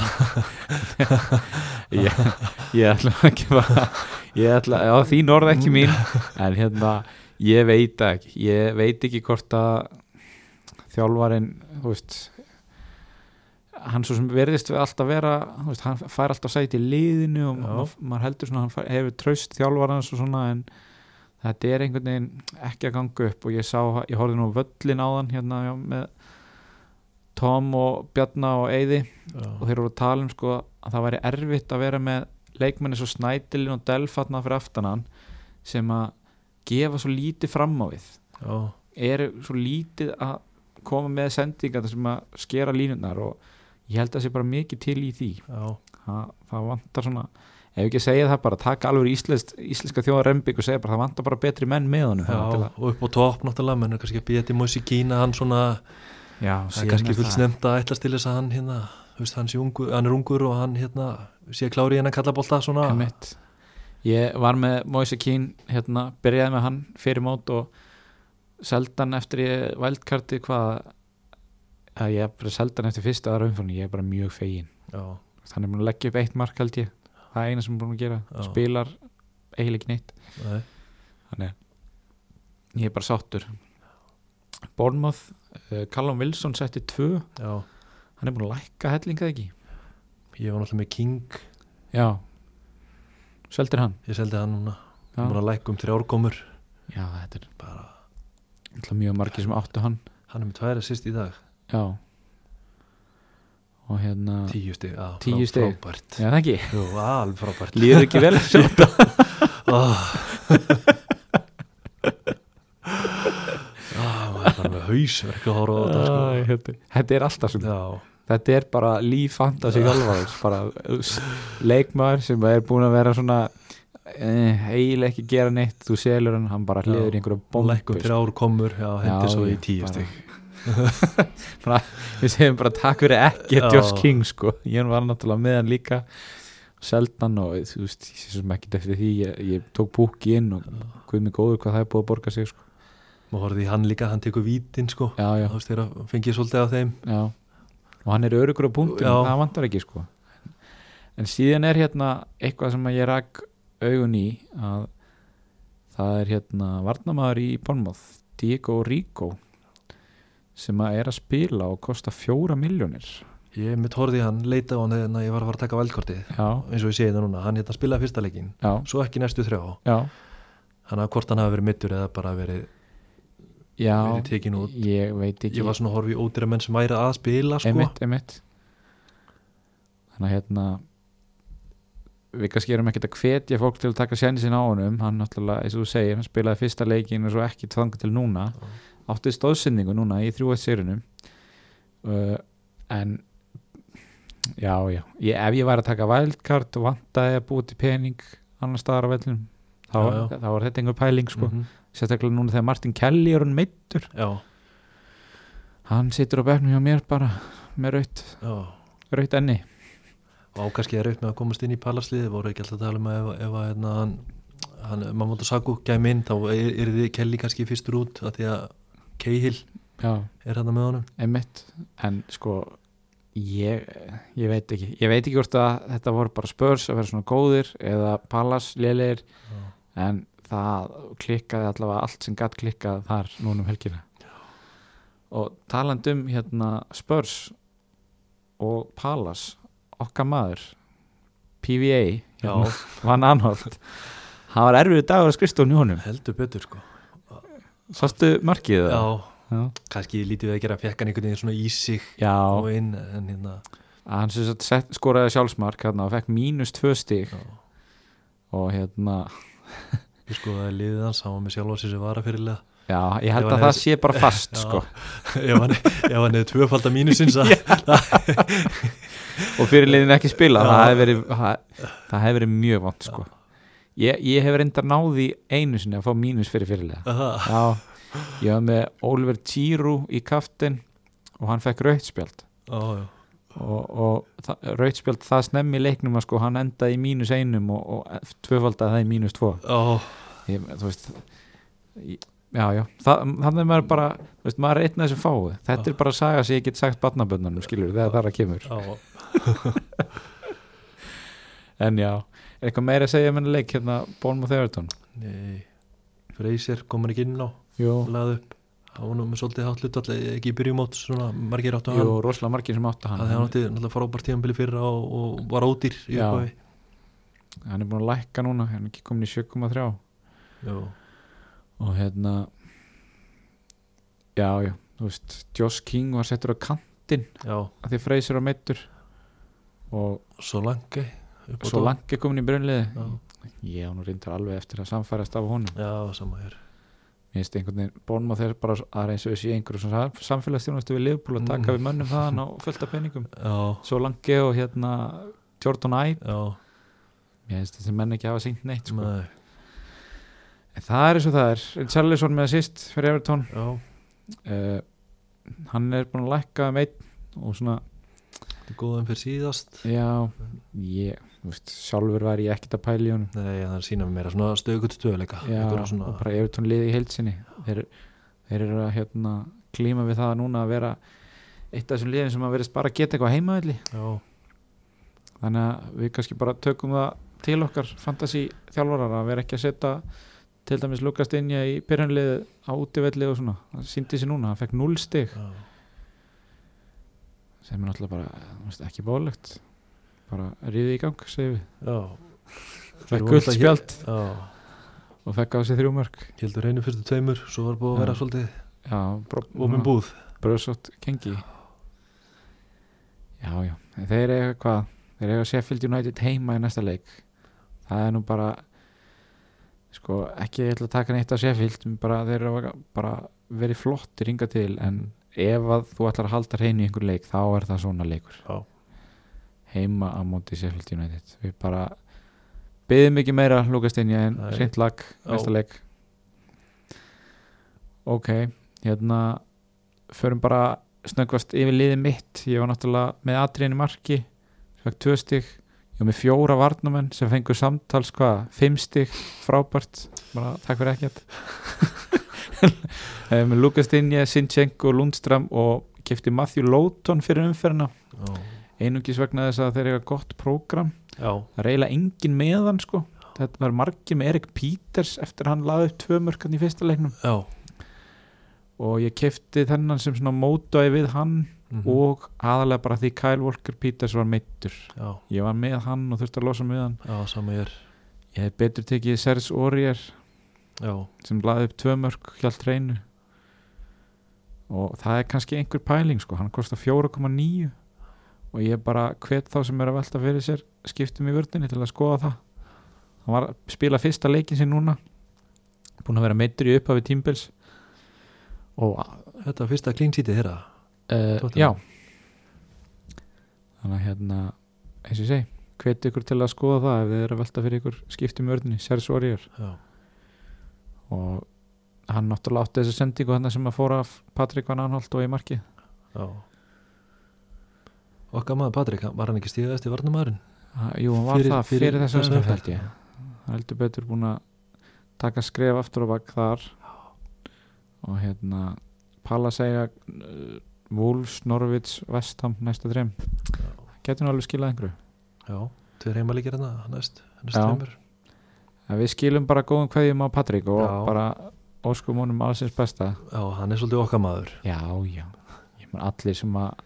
S1: ég, ég ætla ekki bara, ég ætla, já þín orð ekki mín en hérna, ég veit það ekki ég veit ekki hvort að þjálfarin þú veist hann svo sem verðist við alltaf vera þú veist, hann fær alltaf sæti í liðinu og
S2: Já.
S1: ma- maður heldur svona, að hann fær, hefur traust þjálfarans og svona en þetta er einhvern veginn ekki að ganga upp og ég sá, ég horfði nú á völlin áðan hérna já, með Tom og Bjarna og Eyði og þeir voru að tala um sko að það væri erfitt að vera með leikmenni svo Snædilin og Delfatna fyrir aftanan sem að gefa svo lítið fram á við
S2: Já,
S1: eru svo lítið að koma með sendingar sem að skera línunar og ég held að það sé bara mikið til í því
S2: já,
S1: það, það vantar svona ef ekki að segja það bara taka alveg íslensk, íslenska þjóðar rembygg og segja bara það vantar bara betri menn með honum
S2: já
S1: þarna til að-
S2: og upp á topp náttúrulega menn er kannski að býja til Moisi Kína hann svona,
S1: já,
S2: það
S1: síðan
S2: er kannski
S1: er
S2: fullt snemt að ætlast til þess að hann hérna, þú veist, hann, sé ungu, hann er ungur og hann hérna sé klári í hennan kallabólta svona
S1: Einmitt. Ég var með Moise Keane hérna, byrjaði með hann fyrir mót og seldan eftir ég vældkarti hvað að ég er bara seldan eftir fyrsta aðra umfórni, ég er bara mjög fegin
S2: já,
S1: hann er búin að leggja upp eitt mark held ég það er eina sem hann er búin að gera,
S2: Já.
S1: spilar eiginlega ekki neitt,
S2: nei,
S1: þannig að ég er bara sáttur Bournemouth, uh, Callum Wilson setti tvö,
S2: já
S1: hann er búin að lækka hellingað ekki,
S2: ég var náttúrulega með King,
S1: já seldir hann
S2: ég seldi hann núna
S1: já,
S2: hann var að lækka um þrjárgómur
S1: já þetta er
S2: bara,
S1: alltaf mjög margir sem áttu hann
S2: hann er með tværi sýst í dag
S1: já og hérna,
S2: tíu stig, já,
S1: Tíu
S2: frá-
S1: stig.
S2: frábært
S1: já það ekki
S2: Jú, alveg frábært
S1: líður
S2: *laughs*
S1: ekki vel sjálf
S2: oh. ah, maður er bara með hausverk að horfa á þetta sko.
S1: Æ, hérna. þetta þetta er alltaf svona
S2: já,
S1: þetta er bara líf fantasi þjálfarans bara s- leikmaður sem er búin að vera svona eh, eiginlega ekki gera neitt þú selur hann, hann bara
S2: Já,
S1: hliður í einhverju
S2: og
S1: bombu
S2: lækkum þrjárgómur um já, hendur
S1: sko. Já,
S2: svo í
S1: já,
S2: tíu
S1: bara-
S2: stig
S1: *laughs* Bara- við segjum bara takk fyrir ekki
S2: Já.
S1: Josh King sko, ég var náttúrulega með hann líka seldan og þú veist ég sé sem ekki eftir því, ég, ég tók búki inn og guð mig góður hvað það er búið að borga sig sko.
S2: maður horfði í hann líka, hann tekur vítin sko.
S1: já, já,
S2: þú veist þegar fengið svolítið af þeim
S1: já og hann er örugur á punktum,
S2: Já.
S1: það vantar ekki sko en síðan er hérna eitthvað sem að ég rak augun í að það er hérna varnamaður í Bornmoð Diego Rico sem að er að spila og kosta fjóra miljónir
S2: ég mitt horfði í hann, leita á hann þegar ég var að fara að taka valdkortið
S1: já,
S2: eins og ég segi það núna, hann hérna spilaði fyrsta leikin
S1: já,
S2: svo ekki næstu þrjá,
S1: já
S2: hann að hvort hann hafi verið mittur eða bara verið,
S1: Já,
S2: verið tekin út
S1: ég veit ekki
S2: ég var svona að horfa í ódýra menn sem væri að spila sko.
S1: einmitt, einmitt þannig að hérna við kannski erum ekkert að hvetja fólk til að taka sjensin á honum hann náttúrulega, eins og þú segir, hann spilaði fyrsta leikin og svo ekki tvanga til núna
S2: Já.
S1: átti stóðsynningu núna í þrjú eitt sérunum uh, en já, já ég, ef ég var að taka vældkart og vantaði að búa til pening annar staðar á vellum þá,
S2: Já, já.
S1: þá var þetta einhver pæling sko.
S2: Mhm.
S1: sérstaklega núna þegar Martin Kelly er hann meittur
S2: já,
S1: hann situr á bekknum hjá mér bara með raut,
S2: já
S1: raut enni
S2: og á kannski er upp með að komast inn í palarsliði voru ekki alltaf að tala um að ef, ef að hérna, hann, hann Mamoto Saku gæmi inn þá er, er þið Kelly kannski fyrstur út af því að Cahill
S1: já,
S2: er hann með honum
S1: einmitt en sko ég, ég veit ekki, ég veit ekki hvort að þetta voru bara spörs að vera svona góðir eða palas lélegir en það klikkaði allavega allt sem gatt klikkað þar núna um helgina og talandum hérna spörs og palas okkar maður PVA hérna, Van Anholt það var erfiðu dagur að skrifstofn í honum
S2: heldur betur sko
S1: Sástu markið
S2: já,
S1: það? Já.
S2: kannski lítið við að gera fekkan einhvern veginn svona í sig
S1: Já,
S2: og inn en hérna
S1: hann sem sagt sett- skoraði sjálfsmark hérna og fekk mínus tvö stík
S2: já.
S1: og hérna,
S2: ég sko að liðið hans, hann var með sjálf á sér sem vara
S1: *laughs*
S2: fyrirlega
S1: já, ég
S2: Ef
S1: held
S2: hann
S1: að það
S2: hefði-
S1: sé bara fast,
S2: *laughs* Já.
S1: sko
S2: ef hann, ef hann hefði tvöfalda mínusins að,
S1: og fyrirliðin ekki spila,
S2: Já.
S1: það hefði verið það, það hefði verið mjög vant, sko ég, ég hef reyndar náði einu sinni að fá mínus fyrir fyrirliða
S2: að það
S1: Já, ég var með Oliver Tíru í kaftin og hann fekk rautspjald
S2: já, já,
S1: og, og það- rautt spjald það snemmi í leiknum að sko hann endaði í mínus einum og, og tvöfaldaði það í mínus tvo
S2: já,
S1: ég, þú veist ég- já, já, Þa, þannig er maður bara þú veist, maður er einn af þessum fáu þetta er bara að saga sem ég get sagt barnaböndunum skilur þegar það er að kemur
S2: já.
S1: en já, er eitthvað meira að segja um henni leik hérna Bournemouth Everton
S2: nei Freysir komur ekki inn á
S1: jú,
S2: lagði upp hann var nú með svolítið hátt hlut alltaf ekki í byrjumót svona margir áttu hann
S1: jú, rosalega margir sem áttu
S2: að
S1: hann
S2: það hann
S1: hann,
S2: átti náttúrulega frábært tíðanbili fyrra og, og var ódýr í
S1: Já.
S2: upphafi
S1: hann er búin að lækka núna hann er ekki komin í 7,3
S2: Jú.
S1: og hérna já, já, þú veist Josh King var settur á kant
S2: já,
S1: að því freysir á meittur og
S2: svo langi upp á
S1: svo
S2: topp.
S1: langt er komin í brunliði
S2: já,
S1: ég á nú reyndar alveg eftir að samfærast af honum
S2: já, sama hér
S1: mér finnst einhvern veginn bónum á þeir bara að er eins og þessi einhverjum samfélagsstjónastu við Liverpool að taka
S2: Mm.
S1: við mönnum þaðan á fullt af
S2: *laughs*
S1: peningum
S2: já,
S1: svo langi og hérna Jordan Ibe,
S2: já,
S1: mér finnst þessi menn ekki hafa sínt neitt sko.
S2: nei,
S1: en það er eins og það er, Charlison með assist fyrir Everton,
S2: já
S1: uh, hann er búin að lækka um einn og svona
S2: þetta er góðan fyrir síðast
S1: já, ég, þú veist, sjálfur væri ég ekkert að pæla í honum
S2: nei, það sína með mér svona stöðgut stöðleika
S1: já,
S2: einhverja Ah, svona,
S1: og bara Evertón liði í heilsinni þeir, þeir eru að hérna, klíma við það núna að vera eitt af þessum liðum sem að verðist bara geta eitthvað heimaðli
S2: já,
S1: þannig að við kannski bara tökum það til okkar fantasy þjálfarar að vera ekki að setja til dæmis Lukas Dinja í pyrrunlið á útivelli og svona, það síndi sér núna hann fekk 0 stig
S2: já.
S1: sem er náttúrulega bara, þú veist, ekki bólegt bara ríði í gang, segir við
S2: já. Þeir
S1: fekk
S2: voru
S1: gult
S2: alltaf hér-
S1: spjald
S2: já,
S1: og fekk á sig þrjú mörg
S2: heldur einu fyrstu tveimur svo var búið
S1: Já.
S2: að
S1: Mm.
S2: vera svolítið
S1: já,
S2: ofin búð
S1: bröðsótt kengi já, já, En þeir eiga hvað þeir eiga Sheffield United heima í næsta leik það er nú bara sko, ekki ég ætla að taka neitt af Sheffield, en bara þeir eru að- bara verið flottir ringa til en ef að þú ætlar að halda hreinu í einhver leik þá er það svona leikur
S2: Já.
S1: heima á móti Sheffield United við bara byðum ekki meira Lukas Steinja en
S2: Nei.
S1: reynd lag
S2: Já.
S1: næsta leik ok, hérna förum bara snöggvast yfir liðið mitt ég var náttúrulega með atriðinu marki fekk tvö stygg ég var með fjóra varnamenn sem fengur samtals hvað, fimm stygg, frábært bara takk fyrir ekkert Eh, með Lukas Dinje, Sinchenko, Lundström og kefti Matthew Lóton fyrir umferðina
S2: já,
S1: einungis vegna þess að þeir eiga gott prógram
S2: já,
S1: það er eiginlega engin meðan sko þetta var margir með Erik Peters eftir að hann laði upp tvö mörkarn í fyrsta leiknum
S2: já.
S1: og ég kefti þennan sem svona mótaði við hann
S2: mhm,
S1: og aðalega bara því Kyle Walker Peters var meittur
S2: já,
S1: ég var með hann og þurfti að losa með hann
S2: já, sama ég er
S1: ég hef betur tekið Serge Aurier
S2: já,
S1: sem laði upp tvö mörg hjálp reynu og það er kannski einhver pæling sko, hann kostar 4,9 og ég bara hvet þá sem er að velta fyrir sér skiptum í vördinni til að skoða það hann var að spila fyrsta leikin sér núna búin að vera meittur í upphafi tímbils og
S2: þetta var fyrsta clean sheetið þeirra
S1: uh,
S2: Tottenham.
S1: já þannig að hérna eins og ég segi, hveti ykkur til að skoða það ef þið eru að velta fyrir ykkur skiptum í vördinni Serge Aurier
S2: já,
S1: og hann náttúrulega átti þessu sendingu hann sem að fóra af Patrik Van Anholt og í markið
S2: já okkar maður Patrik, hann- var hann ekki stíðast í varnamæðurinn
S1: Ha, jú, hann var
S2: Fyrir-
S1: það
S2: fyrir
S1: fyrir, fyrir þessu
S2: þessa
S1: umferð
S2: umferð,
S1: held ég hann heldur betur búin að taka skref aftur og bak þar og hérna Palla segja uh, Wolves, Norvits, Vestham næsta þreim getur nú alveg skilað einhverju
S2: já, tveir heimalíkir hann næst, næst
S1: Já.
S2: tveimur
S1: en við skilum bara góðum kveðjum á Patrik og
S2: Já.
S1: bara óskum honum allsins besta
S2: já, hann er svolítið okkar maður
S1: Já, já, ég menn allir sem að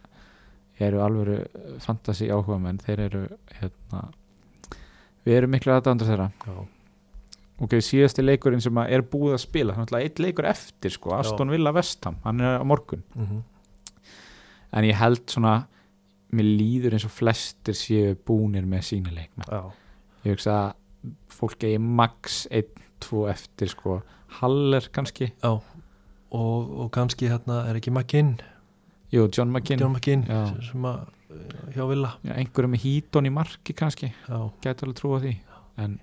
S1: eru alvöru fantasi áhuga menn, þeir eru hérna, við erum miklu aðdæðandur þeirra
S2: já,
S1: ok, síðasti leikurinn sem að er búið að spila þannig að eitt leikur eftir sko, Aston Villa Vestham, hann er á morgun
S2: mhm,
S1: en ég held svona, mér líður eins og flestir séu búnir með sína leikmenn
S2: já,
S1: ég hugsa að fólk eigi max 1-2 eftir sko, Haller kannski
S2: já og, og kannski hérna er ekki McKinn
S1: jú, John McKinn,
S2: John McKinn
S1: Já.
S2: sem að eh, hjá Villa
S1: Já, einhverjum með Híton í marki kannski
S2: já.
S1: gæti alveg trúa því en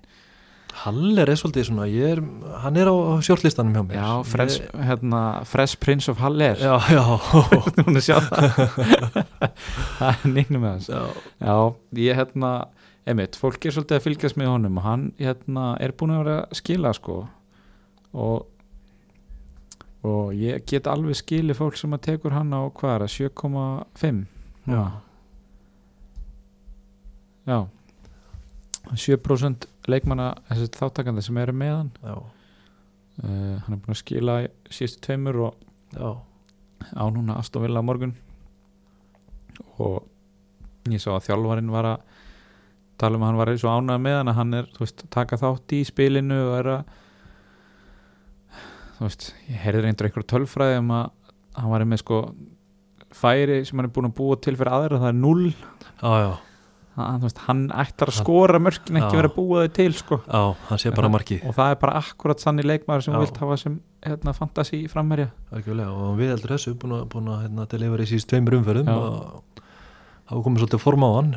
S2: Haller er svolítið svona ég er, hann er á, á sjórnlistanum hjá mér
S1: Já,
S2: Ég-
S1: Fresh, hérna, Fresh Prince of Haller
S2: já, já,
S1: *laughs* Hún er sjá *laughs* það Það er nýgnum með hans
S2: *laughs* já,
S1: Já, ég hérna einmitt, fólk er svolítið að fylgjast með honum og hann hérna, er búin að vera að skila sko og og ég get alveg skilið fólk sem að tekur hann á hvað er það, 7,5
S2: já.
S1: Já 7% leikmanna þessi þáttakandi sem eru með hann
S2: já.
S1: uh, hann er búin að skila í síðustu tveimur og
S2: já.
S1: á núna Aston Villa á morgun og ég sá að þjálfarinn var að tala um að hann var svo ánað með hann að hann er þú veist, að taka þátt í spilinu og er að þú veist, ég heyrði reyndur einhver tölfræði um að hann var með sko færi sem hann er búin að búa til fyrir aðra það er null,
S2: já, já,
S1: hann, þú veist, hann ættar að
S2: Hann-
S1: skora mörkin ekki
S2: Já.
S1: vera að búa þau til sko
S2: já, hann sé bara markið
S1: og það er bara akkurat sann í leikmaður sem
S2: Já.
S1: þú vilt hafa sem hérna, fantasi framherja
S2: Algjörlega, og við heldur þessu búin að, búin að hérna, delivera í síðust tveimur umferðum
S1: Já.
S2: og hafa komið svolítið form á hann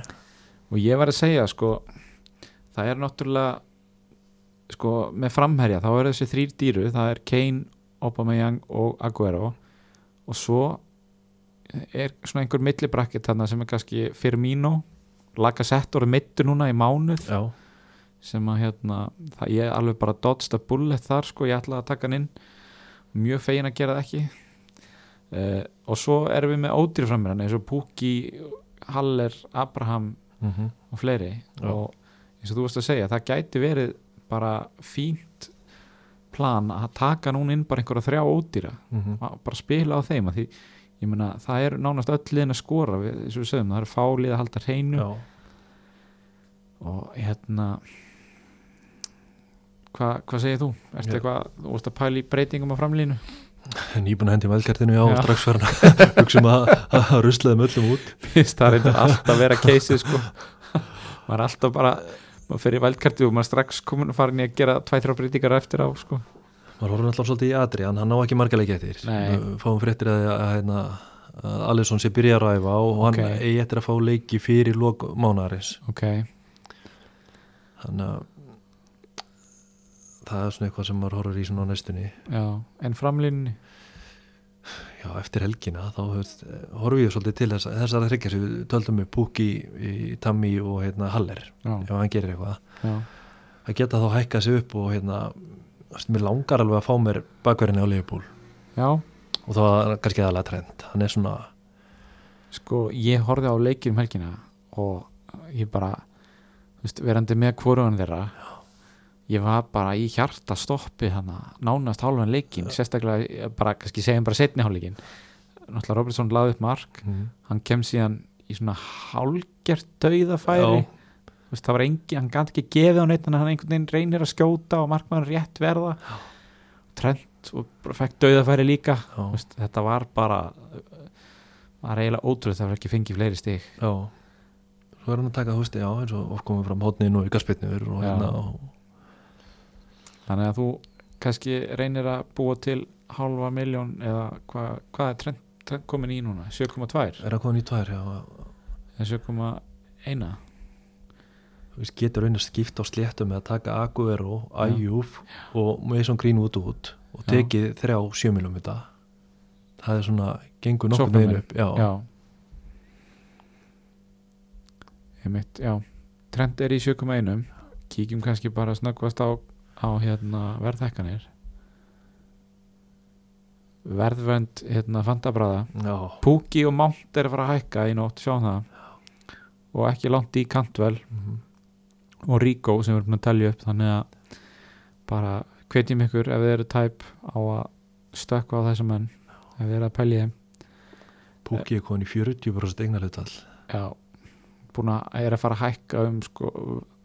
S1: og ég var að segja sko það er náttúrulega sko með framherja þá eru þessi þrýr dýru, það er Kane Aubameyang og Aguero og svo er svona einhver millibrakket þarna sem er kannski Firmino, Lacazette voru mittu núna í mánuð
S2: Já,
S1: sem að hérna, það, ég alveg bara dodged a bullet þar sko, ég ætlaði að taka hann inn mjög fegin að gera það ekki uh, og svo erum við með ódýra framherjan eins og Pukki, Haller Abraham
S2: mm -hmm.
S1: og fleiri
S2: Já.
S1: og eins og þú veist að segja, það gæti verið bara fínt plan að taka núna inn bara einhverja þrjá ódýra
S2: mhm.
S1: að bara spila á þeim að því ég meina það er nánast öll liðin að skora við, eins og við sögum, það eru fálið að halda hreinu
S2: Já,
S1: og hérna hva, hvað segir þú? Ertu
S2: Já.
S1: eitthvað, þú vorst að pæla í breytingum á framlínu? *laughs*
S2: nýbúin að hendi velgertinu já,
S1: Já.
S2: já. strax verðan hugsaum að, *laughs* að ruslaði með öllum út
S1: Fyrst það reyndar alltaf að vera keisið *laughs* sko maður er alltaf bara maður fer í vældkartu og maður er strax komin að fara inn í að gera tvæ-þrjá breytingar eftir á sko
S2: maður horfum alltaf svolítið í atri, hann, hann ná ekki marga leikið eftir
S1: Nei.
S2: Nú fáum fréttir að, að, hérna, að Alisson sé byrja að ræfa og hann
S1: Ok.
S2: eigi eftir að fá leiki fyrir lok mánaris
S1: ok,
S2: þannig að það er svona eitthvað sem maður horfur í svona á næstunni
S1: já, en framlínunni
S2: já, eftir helgina þá hefst, horfum ég svolítið til þess, þessar að hryggja sem við töldum með Pukki, í- Tammy og hérna, Haller
S1: já,
S2: ef hann gerir eitthvað
S1: já,
S2: að geta þá hækkað sér upp og hérna þú veist, mér langar alveg að fá mér bakverðinni á Leifbúl
S1: já
S2: og það var kannski aðalega trend hann er svona
S1: Sko, ég horfði á leikir um helgina og ég bara þú veist, verandi með hvorugan þeirra ég var bara í hjarta stoppi hana, nánast hálfan leikin sérstaklega, ég bara, kannski segjum bara setni hálfleikin náttúrulega Robertson laði upp mark hann kem síðan í svona hálgert dauðafæri
S2: Já.
S1: Þú veist, það var engin, hann gæti ekki gefið á neitt en hann einhvern veginn reynir að skjóta og markmann rétt verða trend og bara fekk dauðafæri líka
S2: já,
S1: Þú veist, þetta var bara var eiginlega ótrúð það var ekki fengið fleiri stig
S2: já svo er hann að taka þú veist, já, eins og oft komum fram hótnin og ykkarspilnur og
S1: Já.
S2: hérna og,
S1: þannig að þú kannski reynir að búa til halva miljón eða hvað hva er trend, trend komin í núna 7,2
S2: er að koma nýtt tvær já,
S1: eða 7,1
S2: þú veist, getur raun að skipta á sléttum með að taka Aguero, Ayuf og Mason Greenwood út og
S1: Já.
S2: tekið þrjá sjömilum þetta það er svona, gengur nokkuð
S1: Sóknarmenn.
S2: megin upp já,
S1: já ég mitt, já trend er í 7,1 kíkjum kannski bara snöggvast á, á hérna verðhækkanir verðvönd hérna fantabræða
S2: já,
S1: Púki og Mount er að fara að hækka í nótt, sjáum það og ekki langt í Cantwell
S2: mhm.
S1: og Rico sem við erum búin að telja upp þannig að bara hvetjum ykkur ef þið eru tæp á að stökkva á þessum menn ef þið eru að pælja í þeim
S2: Pukki er komin í 40% eignarhautal
S1: Já, búin að er að fara að hækka um sko,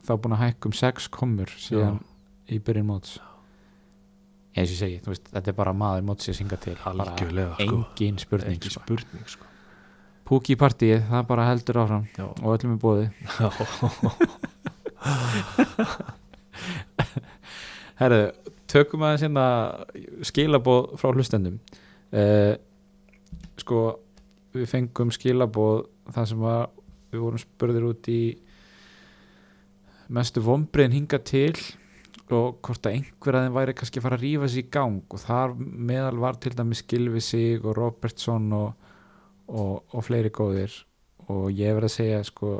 S1: þá búin að hækka um 6 komur síðan í byrjun móts Já, eins og ég segi, þú veist, þetta er bara maður mótsins hinga til, bara
S2: algjörlega sko.
S1: engin spurning
S2: ekki
S1: sko.
S2: spurning sko.
S1: Púki í partíið, það bara heldur áfram
S2: Já.
S1: og öllum er bóði
S2: Já.
S1: *laughs* Herðu, tökum aðeins hérna skilabóð frá hlustendum uh, sko við fengum skilabóð þar sem að við vorum spurðir út í mestu vombriðin hinga til og hvort að einhver að þeim væri kannski að fara að rífa sig í gang og þar meðal var til dæmis Gilvi sig og Robertson og, og, og fleiri góðir og ég verð að segja sko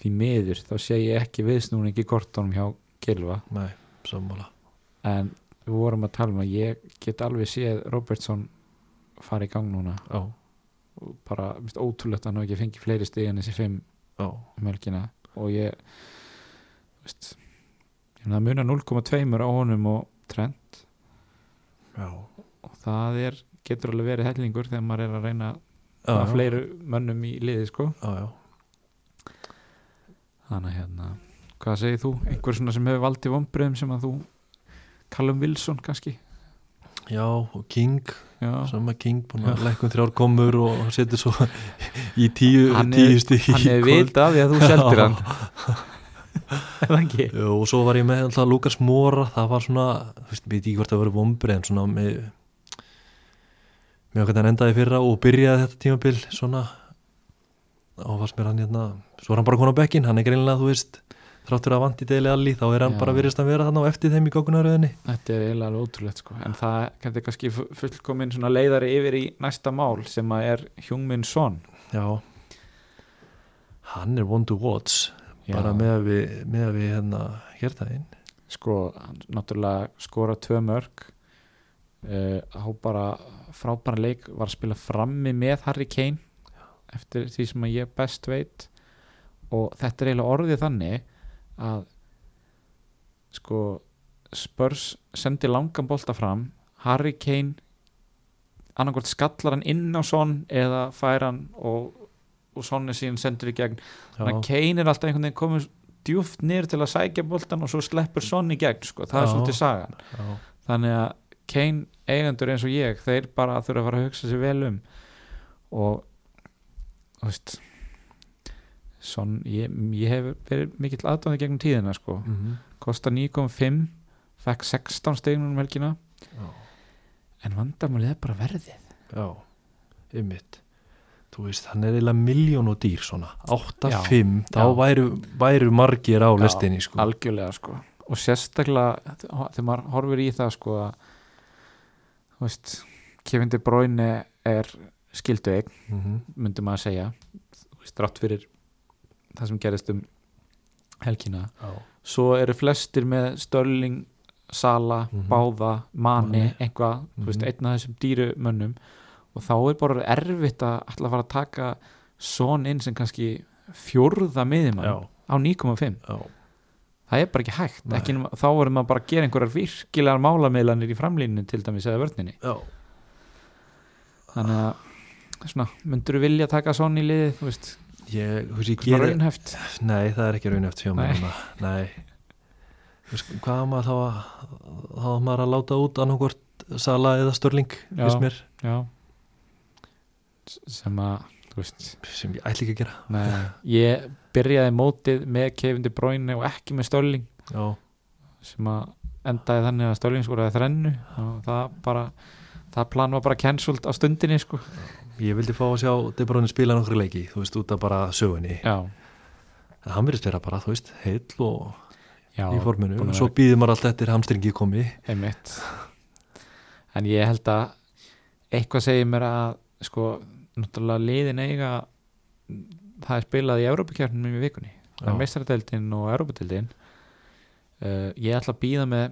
S1: því miður þá sé ég ekki viðsnúning í kortunum hjá Gilva
S2: Nei, sammála
S1: en við vorum að tala um að ég get alveg séð Robertson fara í gang núna
S2: Já,
S1: og bara mist, ótrúlegt að hann hafi ekki fengið fleiri stig en þessi fimm
S2: já,
S1: um helgina og ég veist, ég meina, það munar 0,2 á honum og trend
S2: já.
S1: og það er, getur alveg verið hellingur þegar maður er að reyna
S2: já,
S1: að fleiru mönnum í liði sko
S2: já, já.
S1: þannig að hérna, hvað segir þú einhver svona sem hefur valdið vombriðum sem að þú Callum Wilson kannski
S2: já, og King
S1: já,
S2: sama King, búin að lækka um þrjár komur og setur svo í tíu,
S1: Hann er-
S2: tíu stík
S1: hann hefur vitað af því að þú seldir
S2: *laughs*
S1: hann *laughs* er það ekki
S2: og svo var ég með alltaf Lukas Mora það var svona, þú veist, veit ekki hvort það var vombrið en svona með með okkur hann endaði í fyrra og byrjaði þetta tímabil svona og fannst mér hann hérna svo var hann bara konar á bekkin, hann er greinlega, þú veist þráttur að vandi deili allir, þá er hann
S1: Já.
S2: bara virðist að vera þannig á eftir þeim í gókunaröðinni
S1: Þetta er eiginlega alveg ótrúlegt sko en það kannski kannski fu- fullkomin svona leiðari yfir í næsta mál sem að er Hjungmin Son
S2: já hann er one to watch bara með að við, með að við hérna hértaðinn,
S1: sko, hann náttúrulega skora tvö mörg uh, eh, á bara frábæra leik var að spila frammi með Harry Kane eftir því sem að ég best veit og þetta er eiginlega orðið þannig að sko Spurs sendi langan bolta fram Harry Kane annarkvort skallar hann inn á Son eða fær hann og, og Son er síðan sendur í gegn þannig að
S2: já,
S1: Kane er alltaf einhvern veginn komið djúft niður til að sækja boltan og svo sleppur Son í gegn sko, það er
S2: Já.
S1: svolítið sagan
S2: já,
S1: þannig að Kane eigendur eins og ég þeir bara þurfa að fara að hugsa sér vel um og þú veist svon, ég, ég hef verið mikill aðdóðið gegnum tíðina sko
S2: mhm,
S1: kosta 9,5 fekk 16 stegnum um helgina
S2: já,
S1: en vandamálið er bara verðið
S2: já ymmit þú veist, hann er eiginlega miljón og dýr svona,
S1: Já,
S2: 8-5 þá
S1: já.
S2: væru, væru margir á
S1: Já,
S2: listinni sko,
S1: algjörlega sko og sérstaklega þegar maður horfir í það sko að þú veist Kevin De Bruyne er skildu eign
S2: mhm,
S1: myndum maður að segja þú veist, rátt fyrir það sem gerist um helgina
S2: já,
S1: svo eru flestir með Störling Sala,
S2: Mhm.
S1: Báða, Mani
S2: Mane.
S1: eitthvað, þú veist,
S2: Mhm.
S1: einn af þessum dýru mönnum og þá er bara erfitt að alltaf fara að taka son inn sem kannski fjórða
S2: já,
S1: miðjumann á 9,5
S2: já
S1: það er bara ekki hægt,
S2: Nei.
S1: ekki, nema- þá verður maður bara að gera einhverjar virkilegar málamiðlanir í framlíninu til dæmis eða vörninni
S2: já,
S1: þannig að svona, myndur vilja taka son í liðið, þú veist,
S2: ég, þú veist, ég
S1: svona
S2: ger
S1: raunhæft
S2: Nei, það er ekki raun eftir hjá
S1: Nei.
S2: mér núna. Nei, Þú veist, Hvað á maður þá að þá á maður að láta út annarkvort Sala eða Störling
S1: Já.
S2: veist mér,
S1: Já S- sem að, þú veist
S2: sem ég ætla ekki að gera
S1: nei, ég byrjaði mótið með Kevin De Bruyne og ekki með Stölling
S2: Já,
S1: sem að endaði þannig að Stölling skoraði þrennu og það bara það plan var bara cancelled á stundinni sko.
S2: ég vildi fá að sjá De Bruyne spila nokkru leiki, þú veist, út af bara sögunni
S1: Já,
S2: en hann verið spila bara, þú veist, heill og
S1: já
S2: í forminu,
S1: búin að
S2: og svo
S1: vera-
S2: býðir maður allt eftir hamstringi komi
S1: einmitt en ég held að eitthvað segir mér að sko, náttúrulega liðin eiga það er spilað í Európa-kjörnum í vikunni
S2: Já.
S1: það er meistaradeildin og Európa-deildin uh, ég ætla að býða með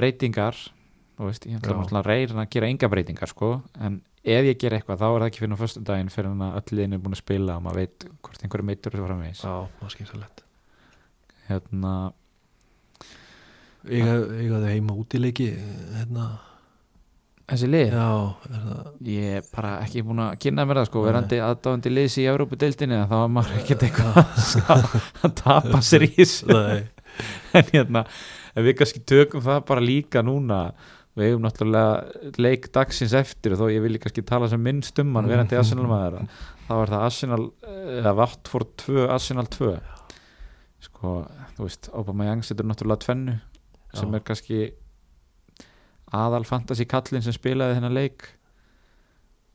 S1: breytingar þú veist, ég ætla
S2: Já.
S1: náttúrulega að reyna að gera enga breytingar sko, en ef ég ger eitthvað þá er það ekki fyrir á föstu daginn fyrir hann að öll liðin er búin að spila og maður veit hvort einhverju meittur er framvegis
S2: Já, það skil svo lett
S1: hérna,
S2: Eiga eiga þau heima út í leiki hérna,
S1: þessi lið
S2: já, er það
S1: ég er bara ekki búin að kynna mér það sko
S2: Nei.
S1: verandi aðdáðandi liðs í Európa-deildinni þá er maður ekkert eitthvað að sjá- að *laughs* tapa sér í þessu
S2: Nei,
S1: en hérna, en við kannski tökum það bara líka núna við eigum náttúrulega leik dagsins eftir og þó ég vil kannski tala sem minnst um hann
S2: Mhm.
S1: verandi Arsenal maður þá er það Arsenal, eða Vatford 2, Arsenal 2 sko, þú veist, Obama Young setur náttúrulega tvennu sem
S2: Já.
S1: er kannski aðal fantasy kallinn sem spilaði þennan leik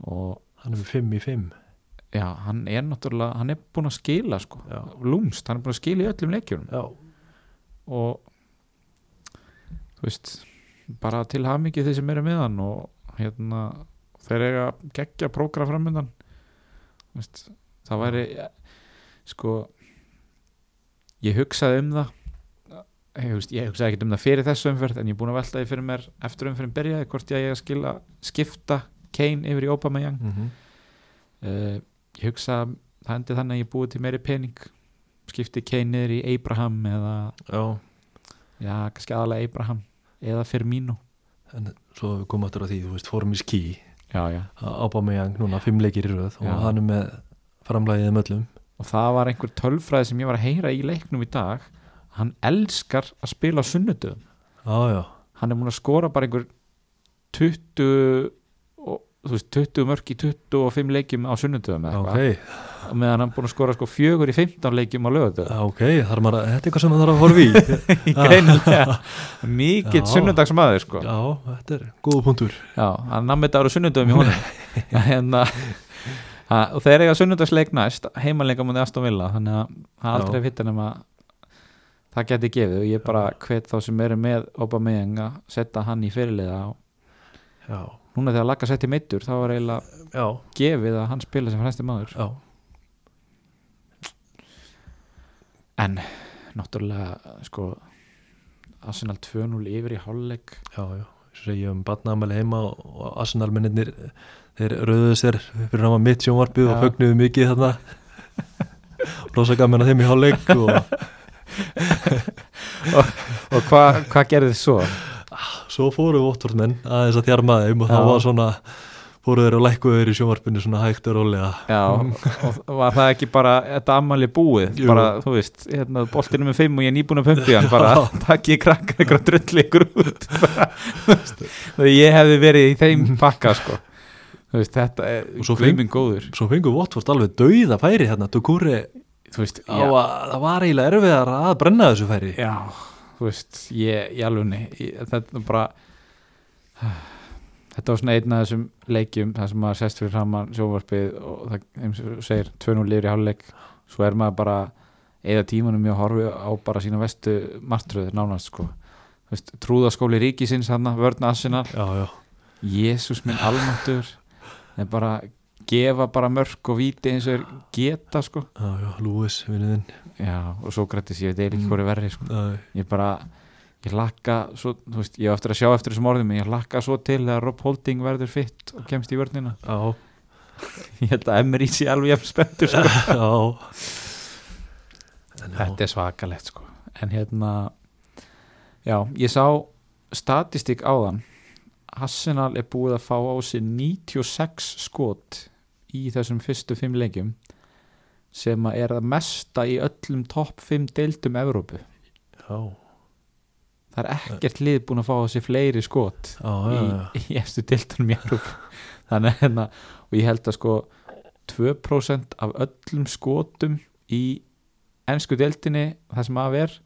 S1: og
S2: hann er með 5 í 5
S1: já, hann er náttúrulega hann er búinn að skila sko
S2: Já,
S1: lúmst, hann er búinn að skila í öllum leikjum
S2: já,
S1: og þú veist bara til hamingi þeir sem eru með hann og hérna þeir eiga geggja prógra framöndan þú veist, það væri sko ég hugsaði um það ég, veist, ég hugsaði ekkert um það fyrir þessu umferð en ég er búinn að velta því fyrir mér eftir umferðin byrjaði hvort ég eiga að skila skipta Kane yfir í Obama
S2: mm
S1: uh, ég hugsa að það endi þannig að ég búi til meiri pening skipti Kane niður í Abraham eða,
S2: já
S1: já, kannski aðalega Abraham eða Firmino
S2: en svo við komum aftur að því, þú veist, Formis Key
S1: já, já.
S2: Aubameyang núna, fimm leikir í röð
S1: Já.
S2: og hann er með framlæðið um öllum
S1: og það var einhver tölfræði sem ég var að heyra í leiknum í dag hann elskar að spila á sunnudöðum
S2: já, já,
S1: hann er múin að skora bara einhver 20 og, þú veist, 20 mörg í 25 leikjum á sunnudöðum eða
S2: ok
S1: eitthvað. og meðan hann er búin að skora sko fjögur í 15 leikjum á
S2: *laughs*
S1: lögadöðum
S2: ok, þar maður, að- þetta er eitthvað sem maður þarf að horfa í
S1: greinilega, mikill
S2: Já.
S1: sunnudagsmaður sko
S2: *laughs* já, þetta er góða punktur
S1: Já, hann nammi þetta ára sunnundum í *laughs* honum hérna, að, og þeir eiga sunnundagsleik næst heimalega mútið Aston Villa þannig að það er aldrei
S2: Já.
S1: vittan um að það geti gefið og ég bara hvet þá sem eru með Aubameyang að setja hann í fyrirliða og
S2: já,
S1: núna þegar Laka setti meittur þá er eiginlega
S2: já,
S1: gefið að hann spila sem fremsti maður
S2: já
S1: en náttúrulega sko Arsenal 2-0 yfir í hálfleik
S2: já, já, svo ég um batnaðamæli heima og, og Arsenal-mennir þeir rauðuðu sér fyrir náma mitt sjónvarpið
S1: Já.
S2: og fögnuðu mikið *laughs* þarna rosa gaman að þeim í hálfleik og
S1: og hvað hva gerði þið svo?
S2: svo fóru vottortmenn aðeins að þjarma þeim og
S1: Já.
S2: þá var svona fóru þeir og lækkuðu þeir í sjónvarpinu svona hægt og rólega *laughs*
S1: Já, og var það ekki bara þetta ammali búið,
S2: Jú.
S1: bara þú veist hérna, boltinu með fimm og ég er nýbúin að pumpi hann bara *laughs* takk ég krakka ykkur að drulli ykkur út bara, þú veist, þegar *laughs* ég hefði verið í þeim pakka sko þú veist, þetta er
S2: Og svo
S1: gleiming góður
S2: svo fengu Votvort alveg dauða færi hérna Dukuri
S1: þú veist,
S2: á að það var eiginlega erfiðar að brenna þessu færi
S1: já, þú veist ég, ég alveg, þetta er bara þetta var svona einn af þessum leikjum þar sem maður sest fyrir framann sjónvarpið og það eins og þú segir 2-0 liður í hálfleik svo er maður bara eða tímanum í að horfi á bara sína vestu martröður nánast sko Þú veist, trúðaskóli ríkisins hann vörn Arsenal,
S2: já, já,
S1: Jésús minn almáttur það er bara gefa bara mörk og víti eins og er geta sko
S2: já, já Lúis, vinnuðinn
S1: já, og svo grættis ég veit eiginlega
S2: Mm.
S1: ekki hvori verri sko
S2: Æ,
S1: ég bara ég lakka, svo, þú veist, ég á eftir að sjá eftir þessum orðum, en ég lakka svo til að Rob Holding verður fitt og kemst í vörnina *laughs*
S2: já,
S1: ég held að Emery sé alveg jafn spenntur sko.
S2: *laughs* já En
S1: *laughs*
S2: já,
S1: þetta er svakalegt sko en hérna já, ég sá statistik áðan Arsenal er búið að fá á sig 96 skot í þessum fyrstu fimm leikjum sem að er það mesta í öllum topp 5 deildum Evrópu
S2: já,
S1: það er ekkert lið búin að fá á sig fleiri skot
S2: já, já, já.
S1: *laughs* í, í efstu deildunum í Evrópu *laughs* þannig að hérna, og ég held að sko 2% af öllum skotum í ennsku deildinni það sem af er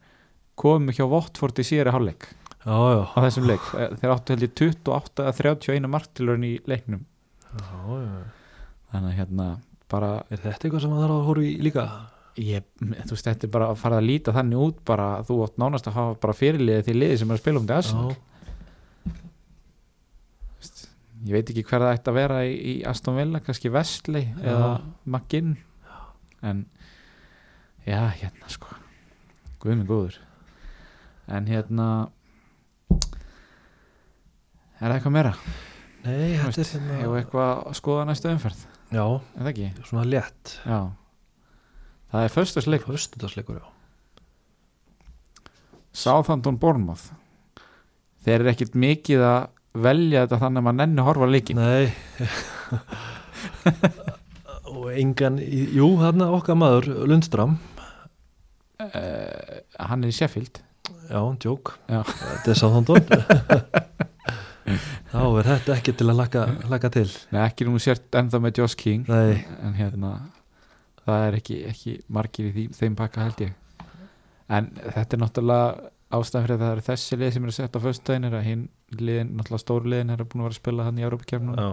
S1: komu hjá Votford í síðari hálfleik
S2: já, já,
S1: á þessum leik,
S2: Ah.
S1: þeir áttu held ég 28 að 31 martilurinn í leiknum
S2: já, já.
S1: þannig að hérna bara
S2: Er þetta eitthvað sem maður þarf að horfa í líka?
S1: ég, þú veist, þetta er bara að fara að líta þannig út bara að þú átt nánast að hafa bara fyrirliðið því liði sem er að spila um til Arsenal
S2: Já,
S1: Veist, ég veit ekki hver það ætti að vera í, í Aston Villa, kannski Vestley eða Maginn en já, hérna sko guð minn góður en hérna er það eitthvað meira?
S2: nei,
S1: Þú
S2: þetta er
S1: Hefur
S2: hérna
S1: eitthvað að skoða næstu umferð?
S2: Já,
S1: Er það ekki?
S2: svona létt
S1: Já Það er föstasleik
S2: Föstudagsleikur, já
S1: Southampton Bournemouth Þeir eru ekkit mikið að velja þetta þannig að maður nenni að horfa á leikinn
S2: *laughs* Nei Og engan, í- jú, þarna okkar maður Lundstram,
S1: uh, Hann er í Sheffield
S2: já, djók
S1: Já.
S2: Þetta er sáþóndón *laughs* Þá er þetta ekki til að laka, laka til
S1: Nei, ekki nú sért ennþá með Josh King
S2: Nei,
S1: en hérna það er ekki, ekki margir í því, þeim pakka held ég en þetta er náttúrulega ástæðan fyrir að það eru þessi lið sem eru sett á föstudaginn er að hinn liðin, náttúrulega stóru liðin er búin að vera að spila hann í Európa-kefnum
S2: já,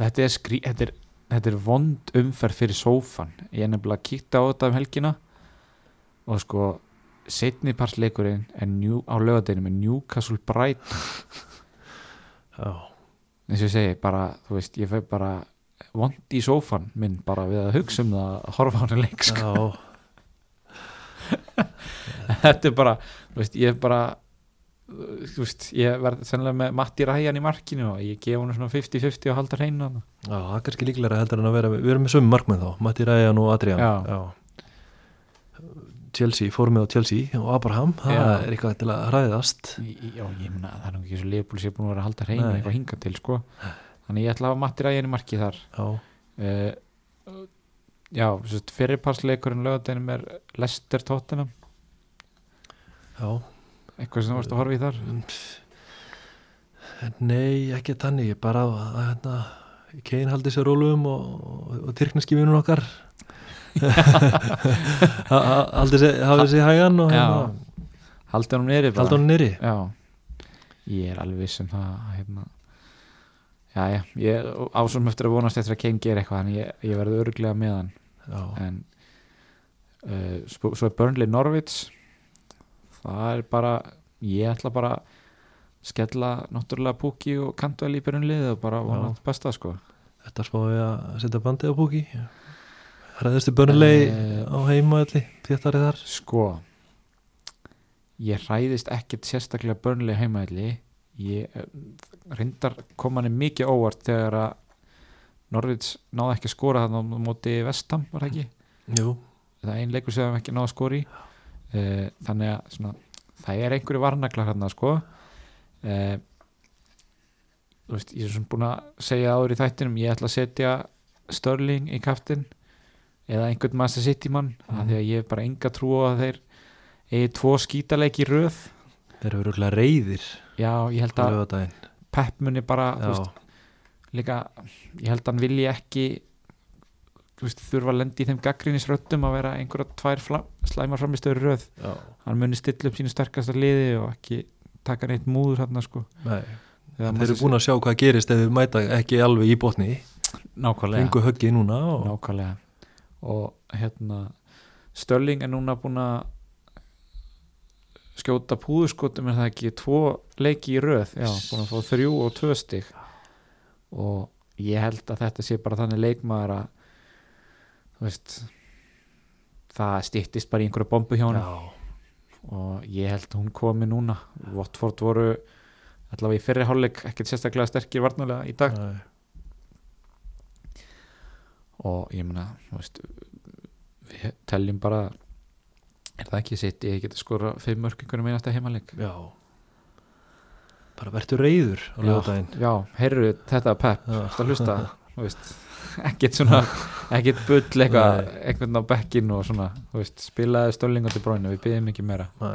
S1: þetta, er skrí- þetta, er- þetta er vond umferð fyrir sófan ég er nefnilega að kíkta á þetta um helgina og sko setni parsleikurinn er njú, á lögadeginu með Newcastle Bright
S2: já,
S1: eins og ég segi, bara, þú veist, ég fæ bara vond í sófan minn bara við að hugsa um það að horfa á hann leik sko.
S2: já.
S1: þetta er bara, þú veist, ég er bara þú veist, ég verð sennilega með Matti Ræjan í markinu og ég gef hann svona 50-50 og halda hreinu hann
S2: Já, það er kannski líklega heldur en að vera, við erum með sömu markmenn þá, Matti Ræjan og Adrian
S1: Já.
S2: Chelsea, formið á Chelsea og Abraham, það
S1: Já.
S2: er eitthvað til að hræðast
S1: já, ég meina, það er nú ekki svo liðbúl sem er búin að vera að halda hreinu
S2: Nei.
S1: eitthvað hinga til, sko þannig ég ætla að hafa Matti Ræjan í marki þar
S2: Já,
S1: uh, já, þú veist, fyrirparsleikurinn lögadeginum er Lester Tottenham
S2: já
S1: eitthvað sem þú varst að horfa í þar
S2: Nei, ekki tannig, bara að að hérna Kane haldi sér rólum og, og tyrkneski
S1: *laughs*
S2: vinnun okkar Ha- ha- haldi sér, hafið sér í hægan og
S1: Já,
S2: hérna,
S1: halda hann nýri bara
S2: haldi hann nýri
S1: Já, ég er alveg viss um það að, hérna. Já, já, ég ásum eftir að vonast eftir að Kane gera eitthvað en ég, ég verði örglega með hann
S2: Já,
S1: en uh, svo svo er Burnley Norvits það er bara ég ætla bara að skella náttúrulega Pukki og Kantvel í Burnley og bara
S2: Já.
S1: vona allt besta sko
S2: þetta spá við að setja bandið á búki Hræðustu börnulegi
S1: Eh.
S2: á heima allir, þéttari þar
S1: sko ég hræðist ekkert sérstaklega börnlega heimaðli ég eh, reyndar kom hann mikið óvart þegar að Norvits náði ekki að skora þannig á móti vestam var það ekki
S2: Jú,
S1: það er ein leikur sem við ekki náða skori uh, þannig að svona, það er einhverju varnaklar hérna sko uh, þú veist, ég er svona búin að segja áður í þættinum, ég ætla að setja Störling í kaftin eða einhvern Master City mann mm.
S2: Mhm.
S1: því að ég hef bara enga trú á að þeir eigi tvo skítaleik í röð
S2: þeir eru rúglega reyðir
S1: já, ég held
S2: á
S1: að
S2: lögadaginn
S1: Pep muni bara þú
S2: Já,
S1: veist, líka, ég held að hann vilji ekki þú veist, þurfa að lendi í þeim gaggrinisröddum að vera einhverja tvær flam, slæmar framistöður röð
S2: já,
S1: hann muni stilla upp sínu sterkasta liði og ekki taka neitt múður hann sko.
S2: nei Þeir eru búin að sjá hvað gerist ef þeir mæta ekki alveg í botni
S1: nákvæmlega,
S2: Fengu höggið núna og
S1: nákvæmlega og hérna Stölling er núna búin að skjóta púðuskotum er það ekki, tvo leiki í röð já, búin að fá þrjú og tvö stig og ég held að þetta sé bara þannig leikmaður að þú veist það stýttist bara í einhverju bombu hjá hann
S2: Já,
S1: og ég held að hún komi núna Watford voru allavega í fyrri hálfleik ekkert sérstaklega sterkir varnalega í dag
S2: nei,
S1: og ég meina, þú veist við teljum bara er það ekki sitt, ég geti skora fimm mörk einhvernum einasta heimaleik
S2: já Bara verður reyður á lögadaginn
S1: já, heyrðu þetta Pep,
S2: Já.
S1: þetta hlusta þú veist, ekkert svona ekkert bull eitthvað, einhvern á bekkinn og svona, þú veist, spilaði stólinga til bróinu, við byggjum ekki meira
S2: Nei,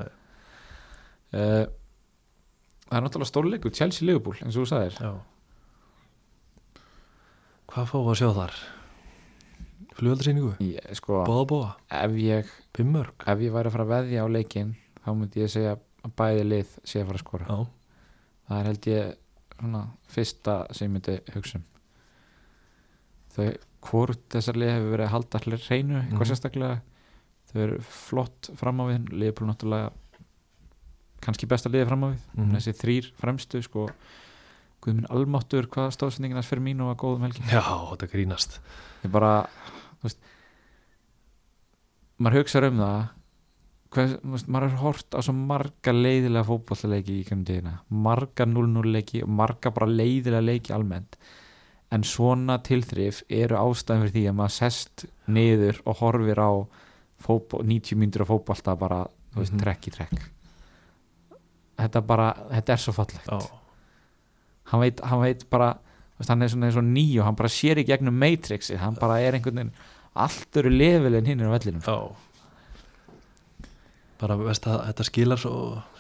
S1: uh, það er náttúrulega stórleikur, Chelsea-Liverpool eins og þú sagðir,
S2: já Hvað fáum við að sjá þar? Flugöldarsýningu?
S1: ég, sko
S2: Bóða bóða?
S1: ef ég
S2: Pimmörg?
S1: ef ég væri að fara að veðja á leikin þá myndi ég segja að bæði lið sé að fara að skora
S2: Já,
S1: það er held ég svona, fyrsta sem ég myndi hugsa um þau hvort þessar lið hefur verið að halda allir hreinu eitthvað
S2: Mhm.
S1: sérstaklega þau eru flott fram á við liðbúl náttúrulega kannski besta liðið fram á við
S2: Mhm.
S1: þessi þrýr fremstu sko Guðminn Almáttur, hvað stóðsendingin hans fyrir mín og að góðum helgi
S2: já, þetta grínast
S1: ég bara þú veist, maður hugsaður um það hvers, þú veist, maður er hort á svo marga leiðilega fótbollaleiki í kemum tíðina marga 0-0 leiki og marga bara leiðilega leiki almennt en svona tilþrif eru ástæðan fyrir því að maður sest niður og horfir á fótbol, 90 myndur af fótbolta bara þú veist,
S2: Mhm.
S1: trekk í trekk þetta bara, þetta er svo fallegt
S2: Já,
S1: hann veit, hann veit bara þú veist, hann er svona eins og nýju, hann bara sér í gegnum Matrixi, hann bara er einhvern veginn allt eru lefilinn hinn á vellinum
S2: já Bara veist að þetta skilar svo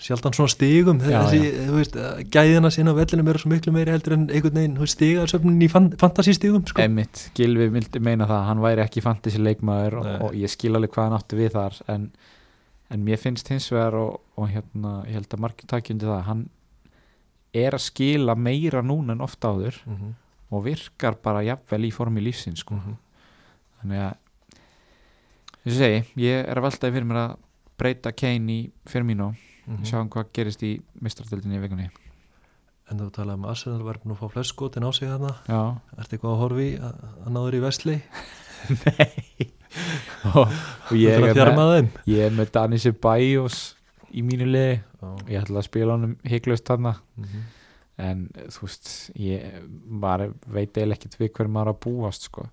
S2: sjaldan svona stigum
S1: Já,
S2: þessi, þú veist, að gæðina sína á vellinum eru svo miklu meiri heldur en einhvern veginn þú veist, stigarsöfnin í fan, fantasístigum sko.
S1: Emmitt, Gilvi vildi meina það hann væri ekki fantasy leikmaður og,
S2: Nei.
S1: og ég skil alveg hvað hann átti við þar en, en mér finnst hins vegar og, og hérna, ég held að margir taki undir það hann er að skila meira núna en ofta áður
S2: mm -hmm.
S1: og virkar bara jafnvel í formi lífsins sko.
S2: mhm,
S1: þannig að eins og ég segi, ég er að veltaði fyrir mér að breyta Kane í fyrir mínu
S2: Mhm.
S1: sjáum hvað gerist í mistrættöldinni í vikunni
S2: En þú talaði um Arsenal var búin að fá flest skotin á sig þarna
S1: já,
S2: Ertu eitthvað að horfi að að náður í Vesli?
S1: og, og ég,
S2: Ég er
S1: er
S2: hérna að fjárma
S1: með,
S2: þeim
S1: ég er með Danny Ceballos í mínu liði
S2: Já,
S1: ég ætla að spila honum hygglust þarna
S2: mhm.
S1: en þú veist ég maður veit eða ekkert við hver maður á að búast sko.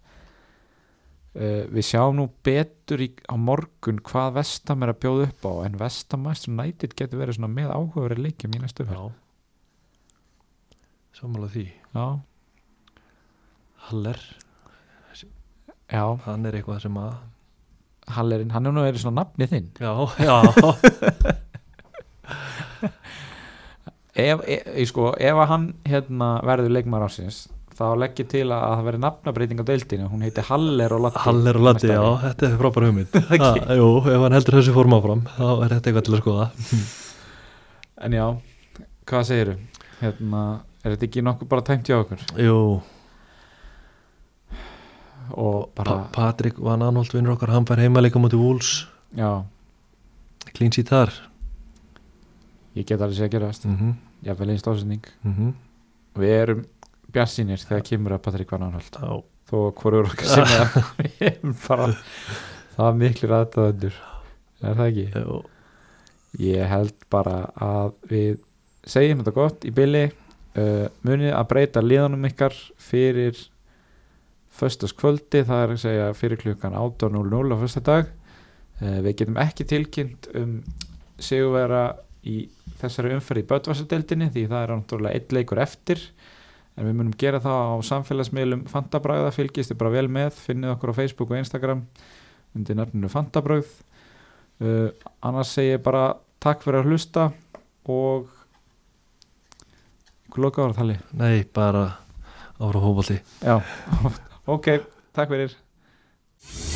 S1: uh, við sjáum nú betur í, á morgun hvað Vestam er að bjóða upp á en Vestamæstur nætit getur verið svona með áhugaveri leikjum í næstu
S2: Já
S1: fyrir
S2: Sammála því
S1: já,
S2: Haller,
S1: já,
S2: hann er eitthvað sem að
S1: Hallerinn, hann er nú verið svona nafnið þinn
S2: Já, *laughs* já,
S1: ef, e, e, sko, ef að hann hérna, verður leikmaður ásins þá legg ég til að að það verður nafnabreiting á deildinu hún heiti Haller og Latti
S2: Haller og Latti,
S1: næsta
S2: já,
S1: ári.
S2: þetta er frábær
S1: *laughs*
S2: hugmynd Ha, Jú, ef hann heldur þessu form áfram þá er þetta eitthvað til að skoða
S1: en já, hvað segiru? Hérna, er þetta ekki nokkuð bara tæmt hjá okkur
S2: Jú,
S1: og bara,
S2: pa Patrik Van Anholt vinnur okkar, hann fær heimaleika múti Wools,
S1: já,
S2: clean seat þar
S1: ég get alveg sér að gerast
S2: mm -hmm.
S1: jafnvel einst ásending við erum bjarsinir þegar kemur að Patrik Van Anholt
S2: Já,
S1: þó hvorur okkar sem er *laughs* við erum bara það er miklir aðtöðandur er það ekki?
S2: jú
S1: Ég held bara að við segjum þetta gott í bili uh, munið að breyta liðanum ykkar fyrir föstaskvöldi, það er að segja fyrir klukkan 18.00 á föstadag uh, við getum ekki tilkynnt um sigurvera í þessari umferð í Böttvarsadeldinni því það er náttúrulega eitt leikur eftir en við munum gera það á samfélagsmiðlum Fantabræða, fylgist þið bara vel með finnið okkur á Facebook og Instagram undir nafninu Fantabræð uh, annars segi ég bara takk fyrir að hlusta og ykkur loka ára tali
S2: Nei,
S1: *laughs*
S2: bara ára hófaldi
S1: já, ok, takk fyrir